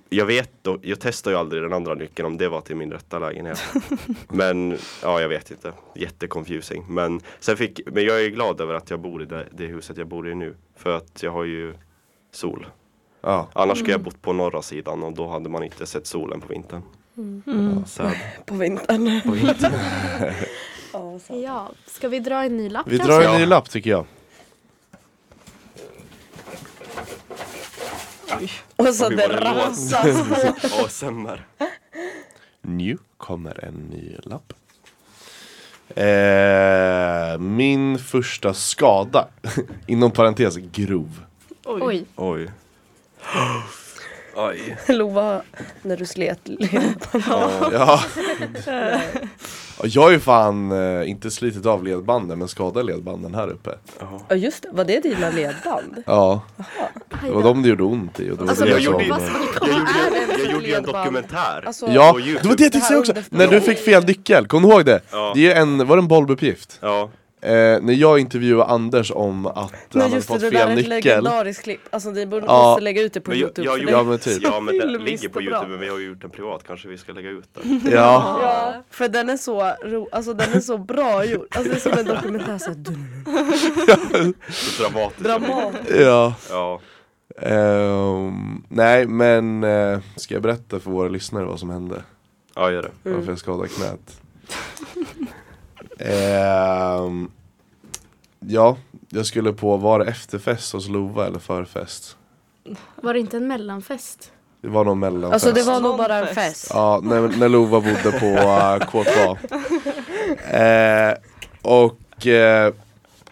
Jag vet då, jag testar ju aldrig den andra nyckeln om det var till min rätta lägenhet. Men ja, jag vet inte. Jätteconfusing. Men, sen fick, men jag är glad över att jag bor i det, det huset jag bor i nu. För att jag har ju sol. Ja. Annars skulle jag bott på norra sidan och då hade man inte sett solen på vintern. Så, På vintern. På vintern. ja, så. Ja, ska vi dra en ny lapp Vi kanske? drar en Ja. ny lapp tycker jag. Och så Oj, det vad det rasas. ASMR. Nu kommer en ny lapp. Eh, min första skada, inom parentes grov. Oj. Oj. Oj. Oj. Lova, när du slet ledbanden. Ja. Ja, Jag har ju fan eh, inte slitit av ledbanden men skadat ledbanden här uppe. Ja just det, var det dina ledband? Ja, det var de det gjorde ont i. Och det var Alltså, det jag jag som- gjorde ju- vad ska vi komma Jag gjorde, är det för jag gjorde ju en ledband? dokumentär. Alltså, Ja, på YouTube. det var det jag tänkte Det här säga också. underförstått. När du fick fel nyckel, kom du ihåg det? Ja. Det är ju en, var det en bollbepuppgift? Ja. Eh, när jag intervjuade Anders om att han Nej hade just det, fått det där fel är ett nyckel. legendariskt klipp. Alltså ni borde Ja. måste lägga ut det på Men jag, youtube. jag, för gjorde, Ja, men typ. ja men den Filmvisst ligger på och bra. youtube men vi har ju gjort den privat kanske vi ska lägga ut den. Ja. Ja, för den är så, ro, alltså den är så bra gjord. Alltså det är som en dokumentär så här, dun- Så dramatiskt. dramatisk. ja. Ja. Ehm, nej men eh, ska jag berätta för våra lyssnare vad som hände? ja, gör det. Mm. Varför jag skadade knät? Ehm, ja, jag skulle på, var det efterfest hos Lova eller förfest? Var det inte en mellanfest? Det var någon mellanfest. Alltså det var nog Någon bara en fest. fest. Ja, när, när Lova bodde på uh, K2. Eh, och eh,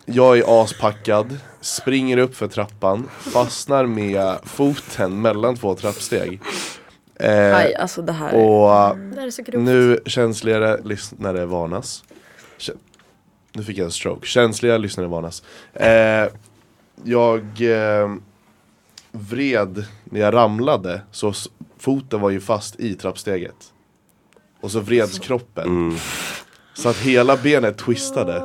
jag är aspackad, springer upp för trappan, fastnar med foten mellan två trappsteg. Eh, Nej alltså det här. och Det här är så grovt. nu känsligare lyssnare varnas. Kä- nu fick jag en stroke. Känsliga lyssnare varnas. Eh, jag eh, vred när jag ramlade så s- foten var ju fast i trappsteget. Och så vreds kroppen. Mm. Så att hela benet twistade.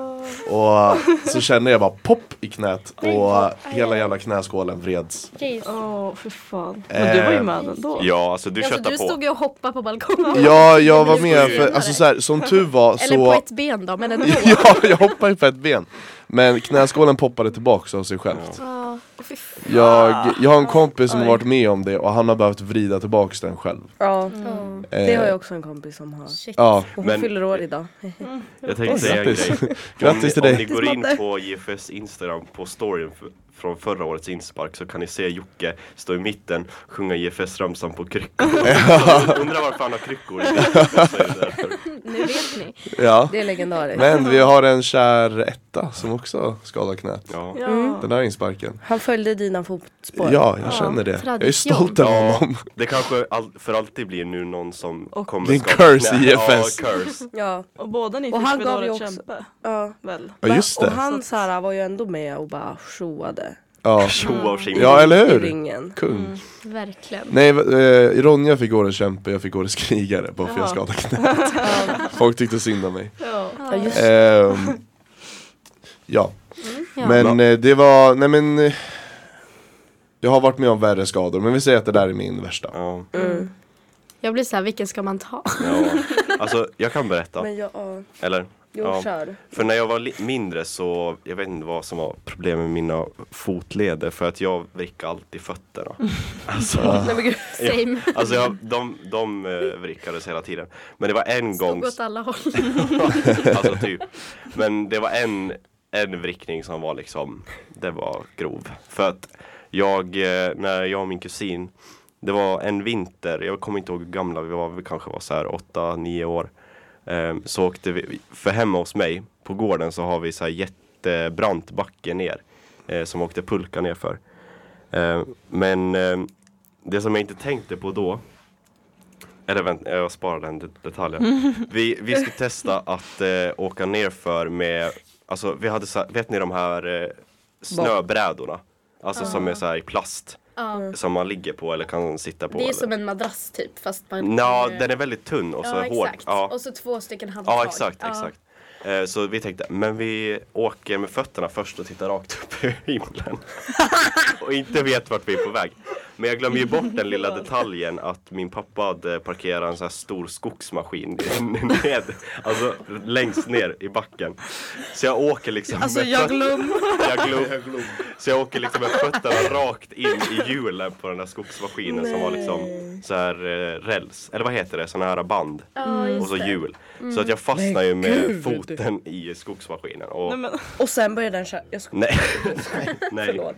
Och eh, så kände jag bara popp i knät och hela jävla knäskålen vreds. Åh, för fan. Men du var ju Eh, med ändå. Ja, alltså du Alltså, köttar du på. stod ju och hoppade på balkongen. Ja, jag var det med skulle för, ju- alltså så här, som tur var så Eller på ett ben då, men ändå. Ja, jag hoppade ju på ett ben. Men knäskålen poppade tillbaka av sig självt. Ja. fy fan. Jag, jag har en kompis som har varit med om det och han har behövt vrida tillbaka den själv. Ja, det Eh, har jag också en kompis som har. Ja, Och hon Men- fyller år idag. Jag tänkte Oj, säga en grattis. grej. Om Grattis ni- till Om dig. ni går in på JFS Instagram på storyn för, från förra årets inspark så kan ni se Jocke stå i mitten, sjunga GFS-ramsan på kryckor. Undrar varför han har kryckor. i bilen. Så är det därför. Nu vet ni. Ja. Det är legendariskt. Men vi har en kär etta som också skadar knät. Ja. Mm. Ja. Den här insparken. Han följde dina fotspår. Ja, jag känner det. Jag är tradition. stolt över honom. Det kanske all, för alltid blir nu någon som kommer Det är en skapa- curse i Nej, GFS. Ja, curse. Ja. Och båda ni Och fick han väl gav årets ju också- kämpe? ja. Väl? Ja, just Och det. han så här, var ju ändå med och bara tjoade. Ja, Tjoa och tjing. ja eller I hur? ringen. Kung. Verkligen. Nej, eh, Ronja fick årets kämpe, jag fick årets krigare bara för jag Jaha. skadade knät. Folk tyckte synd om mig. Ja. Ja, just det. Ehm, ja. Ja. men eh, det var, nej men eh, Jag har varit med om värre skador men vi säger att det där är min värsta. Ja, Mm. Jag blir så här, vilken ska man ta? ja. Alltså, jag kan berätta. Men jag, ja. Eller? Jo, Ja. kör. För när jag var li- mindre så, jag vet inte vad som var problem med mina fotleder för att jag vrickade alltid fötterna. Ah. Alltså, Nej men gud. Same. alltså jag, de, de eh, vrickades hela tiden. Men det var en gång, Stod åt alla håll. alltså typ. Men det var en, en vrickning som var liksom, det var grov. För att jag, eh, när jag och min kusin, det var en vinter, jag kommer inte ihåg hur gamla vi var, vi kanske var så här 8-9 år. Ehm, så åkte vi, för hemma hos mig på gården så har vi så här jättebrant backe ner. Eh, som åkte pulka ner för. Ehm, men ehm, det som jag inte tänkte på då. Eller vänta, jag sparar den det- detaljen. Vi, vi skulle testa att eh, åka ner för med, alltså vi hade så här, vet ni de här eh, snöbrädorna? Alltså som är så här i plast. Som man ligger på eller kan sitta på. Det är eller- som en madrass typ fast man Nja, den är väldigt tunn och så ja, hård. Exakt. Ja. Och så två stycken handtag. Ja, exakt, exakt. Eh, Så vi tänkte, men vi åker med fötterna först och tittar rakt upp i himlen. och inte vet vart vi är på väg. Men jag glömmer ju bort den lilla detaljen att min pappa hade parkerat en sån här stor skogsmaskin ned, alltså längst ner i backen. Så jag åker liksom Alltså med jag fötterna- glömde. jag glöm. Så jag åker liksom med fötterna rakt in i hjulen på den där skogsmaskinen som var liksom så här eh, räls, eller vad heter det, såna här band Ja, och just så det. Mm. hjul. Så att jag fastnar ju med foten i skogsmaskinen. Och, Nej, men, Och sen började den köra. Jag skojar, nej, nej, förlåt.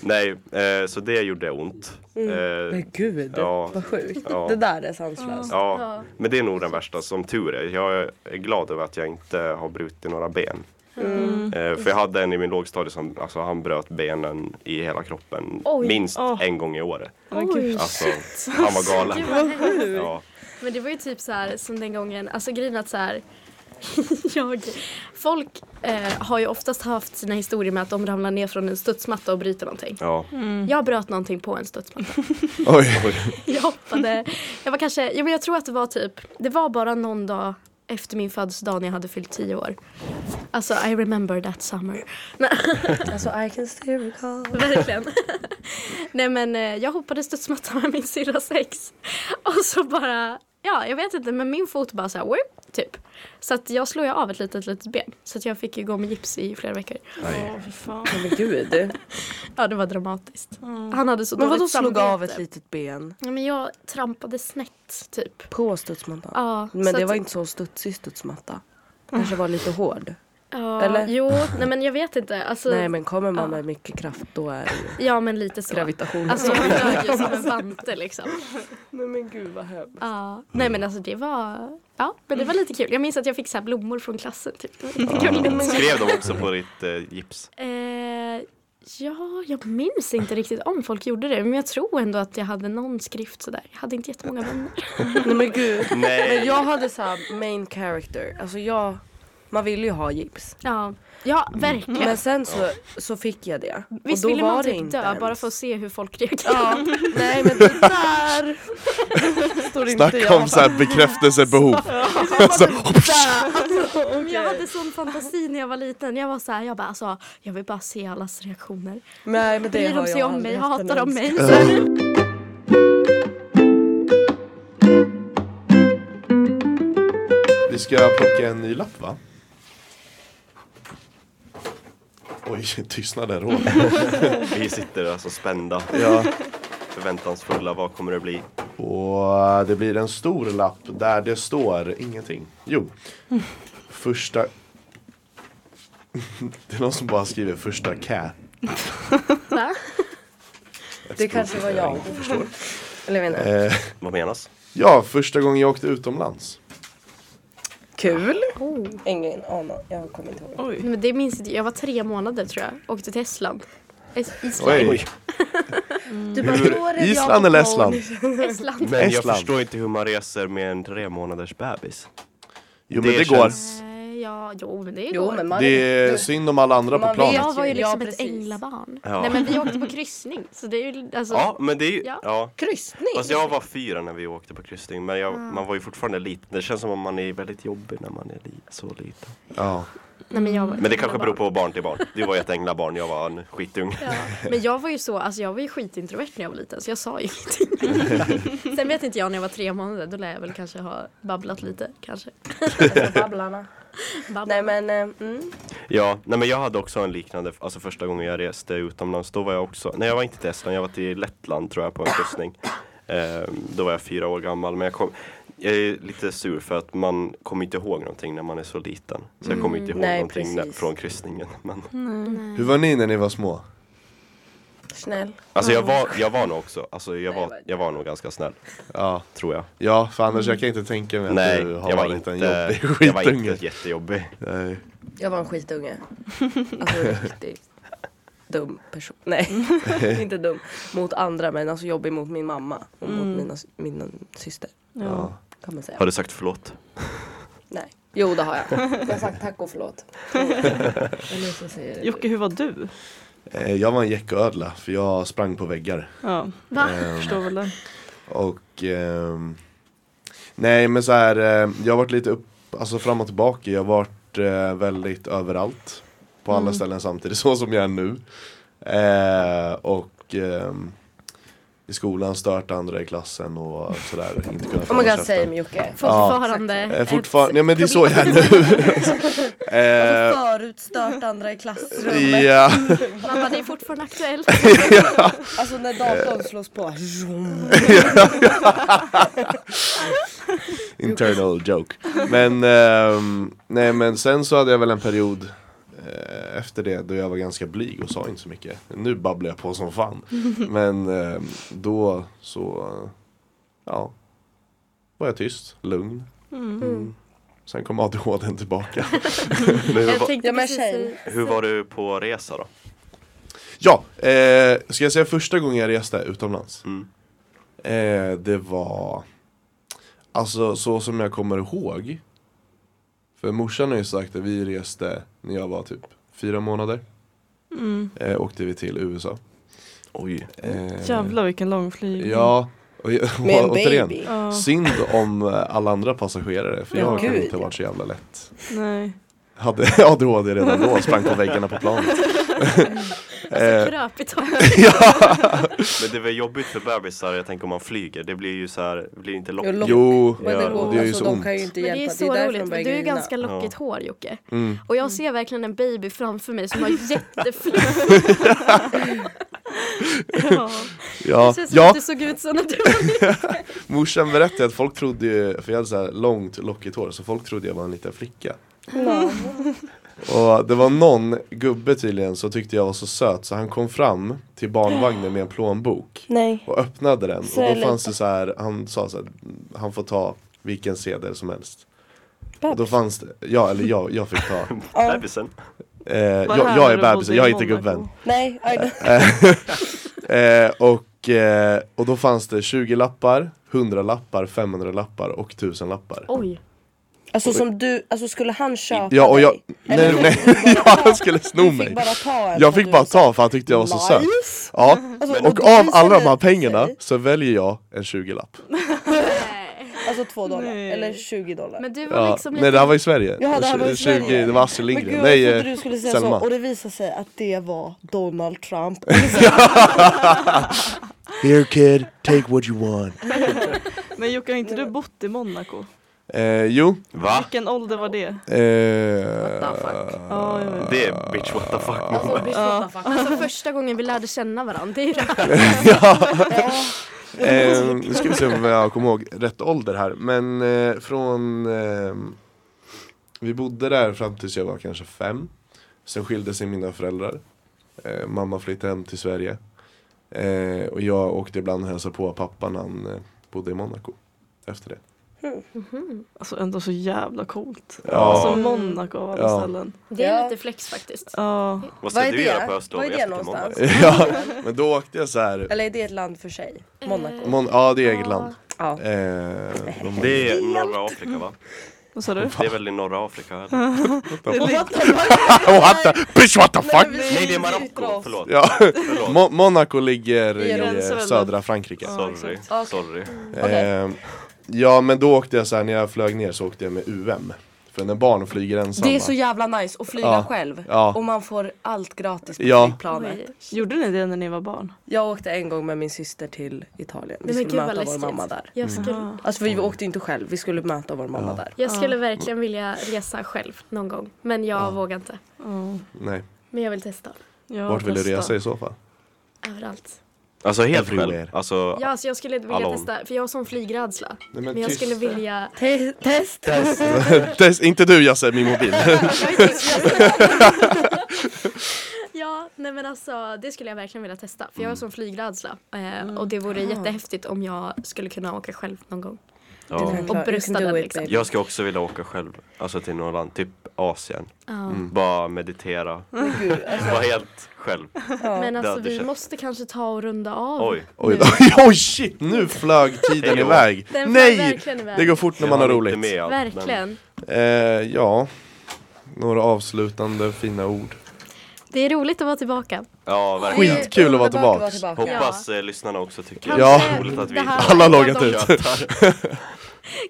nej. Eh, så det gjorde ont. Mm. Eh, Men gud, Ja. vad sjukt. Ja. Det där är sanslöst. ja, men det är nog den värsta. Som tur är. Jag är glad över att jag inte har brutit några ben. Mm. Eh, för jag hade en i min lågstadie som alltså, han bröt benen i hela kroppen Oj. minst Åh. en gång i året. men gud. Oj. Alltså, han var galen. Gud, vad hemskt. Ja, Men det var ju typ så här som den gången, alltså grejen är att så här jag, folk eh, har ju oftast haft sina historier med att de ramlar ner från en studsmatta och bryter någonting. ja. Jag bröt någonting på en studsmatta. Oj, Jag hoppade, jag var kanske, jo men jag tror att det var typ, det var bara någon dag efter min födelsedag när jag hade fyllt tio år. Alltså I remember that summer. Nej, Alltså I can still recall. Verkligen. Nej men eh, jag hoppade studsmatta med min syrra sex. Och så bara, ja jag vet inte men min fot bara såhär whip, typ. Så att jag slog ju av ett litet litet ben. Så att jag fick ju gå med gips i flera veckor. Åh, för fan. Men gud. Ja det var dramatiskt. Han hade så Mm. Men vadå dåligt slog av ett samvete. litet ben? Ja, men jag trampade snett typ. På studsmattan? Ja, Men så det att- var inte så studsig studsmatta. Kanske var lite hård. Ja, Eller? Jo, nej men jag vet inte. Alltså, Nej men kommer man Ja. med mycket kraft då är det ju Ja men lite så. gravitation. Alltså jag flög ju som en vante liksom. Nej men gud vad hemskt. Ja. Nej men alltså det var, ja men det Mm. var lite kul. Jag minns att jag fick så här blommor från klassen typ. Det var lite gulligt. Skrev de också på ditt eh, gips? Eh, ja, jag minns inte riktigt om folk gjorde det. Men jag tror ändå att jag hade någon skrift sådär. Jag hade inte jättemånga vänner. Nej men gud. Nej. Men jag hade så här main character. Alltså jag, man ville ju ha gips. Ja, ja verkligen. Men sen så, så fick jag det. Mm. Visst och då ville var man det typ inte dö ens. bara för att se hur folk reagerar. Ja, nej men det där står inte snacka om så här bekräftelsebehov. Alltså, Men Jag hade sån fantasi när jag var liten. Jag var så här, jag bara alltså, jag vill bara se allas reaktioner. Nej men det Bryr har de jag sig om mig? aldrig haft en Hatar de önskan. mig? Så här Eh. Mm. nu. Vi ska plocka en ny lapp va? Oj, tystnaden råder. Vi sitter alltså spända, Ja. förväntansfulla. Vad kommer det bli? Och det blir en stor lapp där det står ingenting. Jo, första... Det är någon som bara skriver första cat. Va? Det kanske var jag. Eller jag menar, Eh, Vad menas? ja, första gången jag åkte utomlands. kul. Oh. Ingen aning, jag kommer inte ihåg. Oj. Nej, men det minns inte jag. Jag var tre månader tror jag. Åkte till Estland. Es- Island. Oj. Du Hur- "Då är det Island Jakob eller Holm." Estland? Estland. Men jag Estland. förstår inte hur man reser med en tre månaders bebis. Jo men Det det, går. känns- Eh, Ja, jo men det Jo går. men man, Det är synd om alla andra på Man planet. vet- Jag var ju Ja, liksom ett precis. änglabarn. Ja. Nej men vi åkte på kryssning. Så det är ju alltså. Ja, men det är ju... Ja. Ja. kryssning. Fast jag var fyra när vi åkte på kryssning, men jag, Ah. man var ju fortfarande liten. Det känns som om man är väldigt jobbig när man är li- så liten. Ja. Nej, men, jag var ett Men det kanske beror änglabarn. på barn till barn. Du var ju ett änglabarn, jag var en skitung. Ja. Men jag var ju så, alltså jag var ju skitintrovert när jag var liten så jag sa ju ingenting. Sen vet inte jag när jag var tre månader, då lär jag väl kanske ha babblat lite kanske. Alltså, Babblarna. Babblat. Nej men, eh, mm. Ja, nej men jag hade också en liknande, alltså första gången jag reste utomlands, då var jag också, nej jag var inte till Estland, jag var till Lettland tror jag på en kryssning. Ehm, då var jag fyra år gammal, men jag kom, jag är lite sur för att man kommer inte ihåg någonting när man är så liten. Så jag kommer inte ihåg Mm. Nej, någonting när, precis. Mm. från kryssningen. Men, Hur var ni när ni var små? snäll. alltså jag var, Mm. jag var nog också, alltså jag var, jag var nog ganska snäll, Ja, tror jag. ja för annars jag kan inte tänka mig att Nej, du har jag var varit inte, en jobbig jag var skitunge. inte jättejobbig. Nej. Jag var en skitunge. Alltså riktigt dum person. Nej, inte dum mot andra men alltså jobbig mot min mamma och mot mina, mina syster. Mm. Ja. Kan man säga. Har du sagt förlåt? Nej. Jo det har jag. Jag har sagt tack och förlåt. Eller så säger jag det. Jocke, hur var du? Eh, Jag var en geckoödla för jag sprang på väggar. Ehm, Ja, Va? Eh, jag förstår väl det. Och ehm, Nej men så här, eh, jag har varit lite upp, alltså fram och tillbaka. Jag har varit eh, väldigt överallt. På Mm. alla ställen samtidigt, så som jag är nu. Eh, och ehm, i skolan stört andra i klassen och sådär. Inte kunnat Oh my hålla god käften. same Jocke. Fortfarande. Eh, ett Fortfarande, nej men det är så jag är nu. Eh, Förut stört andra i klassrummet. Ja, Mamma det är fortfarande aktuellt. Alltså när datorn slås på. internal joke. Men, ehm, nej men sen så hade jag väl en period eh, efter det då jag var ganska blyg och sa inte så mycket. Nu babblar jag på som fan. Men ehm, då så, eh, ja, var jag tyst, lugn. Mm. Sen kom ADHDn tillbaka. Hur, Jag va, tänkte Ja, men precis tjej. säga- hur var du på resa då? Ja, eh, ska jag säga första gången jag reste utomlands? Mm. Eh, det var, alltså så som jag kommer ihåg. För morsan har ju sagt att vi reste när jag var typ fyra månader. Mm. Eh, åkte vi till USA. Oj. Eh, Jävlar vilken långflygning. Ja, och, jag- Med en återigen. baby. Ja, Synd om eh, alla andra passagerare för Ja, jag kan gud, inte ha ja. varit så jävla lätt. nej. Hade ADHD redan då, sprang på väggarna på planet. Eh. Alltså kröp i taket. Men det är väl jobbigt för bebisar, jag tänker om man flyger, det blir ju så här, det blir inte Jo, lockigt. lock. Jo, Men det Ja, går, det gör ju alltså, så de kan ju ont. inte Men hjälpa. det är Det är, så därför roligt. de Du börjar är ju grina. ganska lockigt hår Jocke. Mm. Och jag ser verkligen en baby framför mig som har jättefluff. Ja. ja, Det känns som ja att du såg ut så när du var Morsan berättade att folk trodde ju, för jag hade så här långt lockigt hår, så folk trodde jag var en liten flicka. Och det var någon gubbe tydligen som tyckte jag var så söt så han kom fram till barnvagnen med en plånbok Nej. och öppnade den Så och då lite. fanns det så här, han sa så här, han får ta vilken sedel som helst. Och då fanns det, ja eller jag, jag fick ta. Bebisen. Eh, jag, jag är bebisen, jag är inte gubben. Nej. I- Eh, och, eh, och då fanns det 20 lappar, 100 lappar, 500 lappar och 1000 lappar. Oj. Alltså som du, alltså skulle han köpa Ja och jag, dig? nej nej, ja, han skulle sno Du mig fick bara ta en Jag och fick du bara var så här, ta för han tyckte jag var så söt "Nice." Ja, Alltså, och då av visade alla de här det sig- pengarna så väljer jag en 20-lapp Alltså två dollar, Nej. eller 20 dollar Men du var ja. liksom Nej lite... det här var i Sverige, Jaha, det här var i 20, Sverige. det var Astrid Men Lindgren, gud nej jag trodde eh, du skulle säga Selma så och det visade sig att det var Donald Trump Here kid, take what you want Men Jocke, har inte du bott i Monaco? eh, Jo, Va? Vilken ålder var det? eh, Ja, jag vet. Det är bitch what the fuck. Alltså, Alltså första gången vi lärde känna varandra. Det är ju det här. eh, nu ska vi se om jag kommer ihåg rätt ålder här Men eh, från, eh, vi bodde där fram tills jag var kanske fem Sen skilde sig mina föräldrar Eh, mamma flyttade hem till Sverige. Eh, och jag åkte ibland och hälsade på pappa när han eh, bodde i Monaco. Efter det. Alltså ändå så jävla coolt. Ja. Alltså Monaco av alla Ja. ställen. Det är Ja. lite flex faktiskt. Ja. Vad Vad ska är du det? göra på höstlov Vad är det efter måndag? någonstans? ja, men då åkte jag så här. Eller är det ett land för sig? Monaco? Mon- ja, det är eget land. Ja. Eh, de- Det är norra Afrika va? Vad sa du? Det är väl i norra Afrika? Mm. Eller? what the, bitch, what the fuck! Nej det är Marocko, förlåt. Ja. förlåt. Mo- Monaco ligger i Genom eh, Venezuela. södra Frankrike. Sorry, Okej. sorry. Okej. Eh, ja men då åkte jag så här, när jag flög ner så åkte jag med UM. För när barn flyger ensamma. Det är så jävla nice att flyga Ja. själv. Ja. Och man får allt gratis på Ja. flygplanet. Oj. Gjorde ni det när ni var barn? Jag åkte en gång med min syster till Italien. Vi Nej, men gud skulle vad möta vår mamma läskigt. där. Jag skulle, Alltså vi åkte inte själv, vi skulle möta vår mamma där. jag skulle verkligen vilja resa själv någon gång. Men jag vågar inte. Ja. Nej. Men jag vill testa Ja, Vart vill du testa. resa i så fall? överallt. Alltså helt Everywhere. själv. Alltså, Ja, så jag skulle vilja Hallå. testa. För jag har sån flygrädsla. Nej, Men jag skulle vilja... Te- test! Test, inte du Jasse, min mobil. Ja, nej men alltså det skulle jag verkligen vilja testa. För jag har Mm. sån flygrädsla. Eh, och det vore jättehäftigt om jag skulle kunna åka själv någon gång. ja. Och brösta den liksom. babe. Jag ska också vilja åka själv, alltså till något land, typ Asien. Mm. Ja. Bara meditera, Gud, alltså, vara helt själv. Men alltså hade vi känts- måste kanske ta och runda av. Oj. Oj, då. oj shit, nu flög tiden Hej då. iväg. Den flög Nej! verkligen iväg. Det går fort när jag man har hann inte roligt. med allt, men- Verkligen. Eh, ja, några avslutande fina ord. Det är roligt att vara tillbaka. Ja, verkligen. Skitkul att vara Underbart tillbaka. tillbaka. Hoppas eh, lyssnarna också tycker Kanske det Ja. är roligt att vi det här- Alla har loggat ut. Typ. tjötar.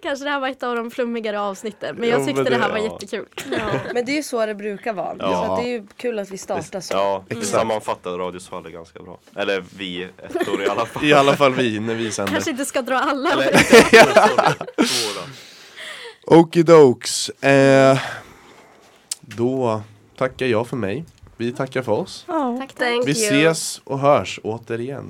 Kanske det här var ett av de flummigare avsnitten. Men Jo, jag men tyckte det, det- här var ja. jättekul. Men det är ju så det brukar vara. Ja. Så att det är ju kul att vi startar så. Ja, det Exakt. sammanfattar radiosvallet ganska bra. Eller vi ettor i alla fall. I alla fall vi, när vi sänder. Kanske inte ska dra alla. Eller ettor, två då. Okidokes. Eh, då tackar jag för mig. Vi tackar för oss. Ja. Tack, tack. Vi ses och hörs återigen.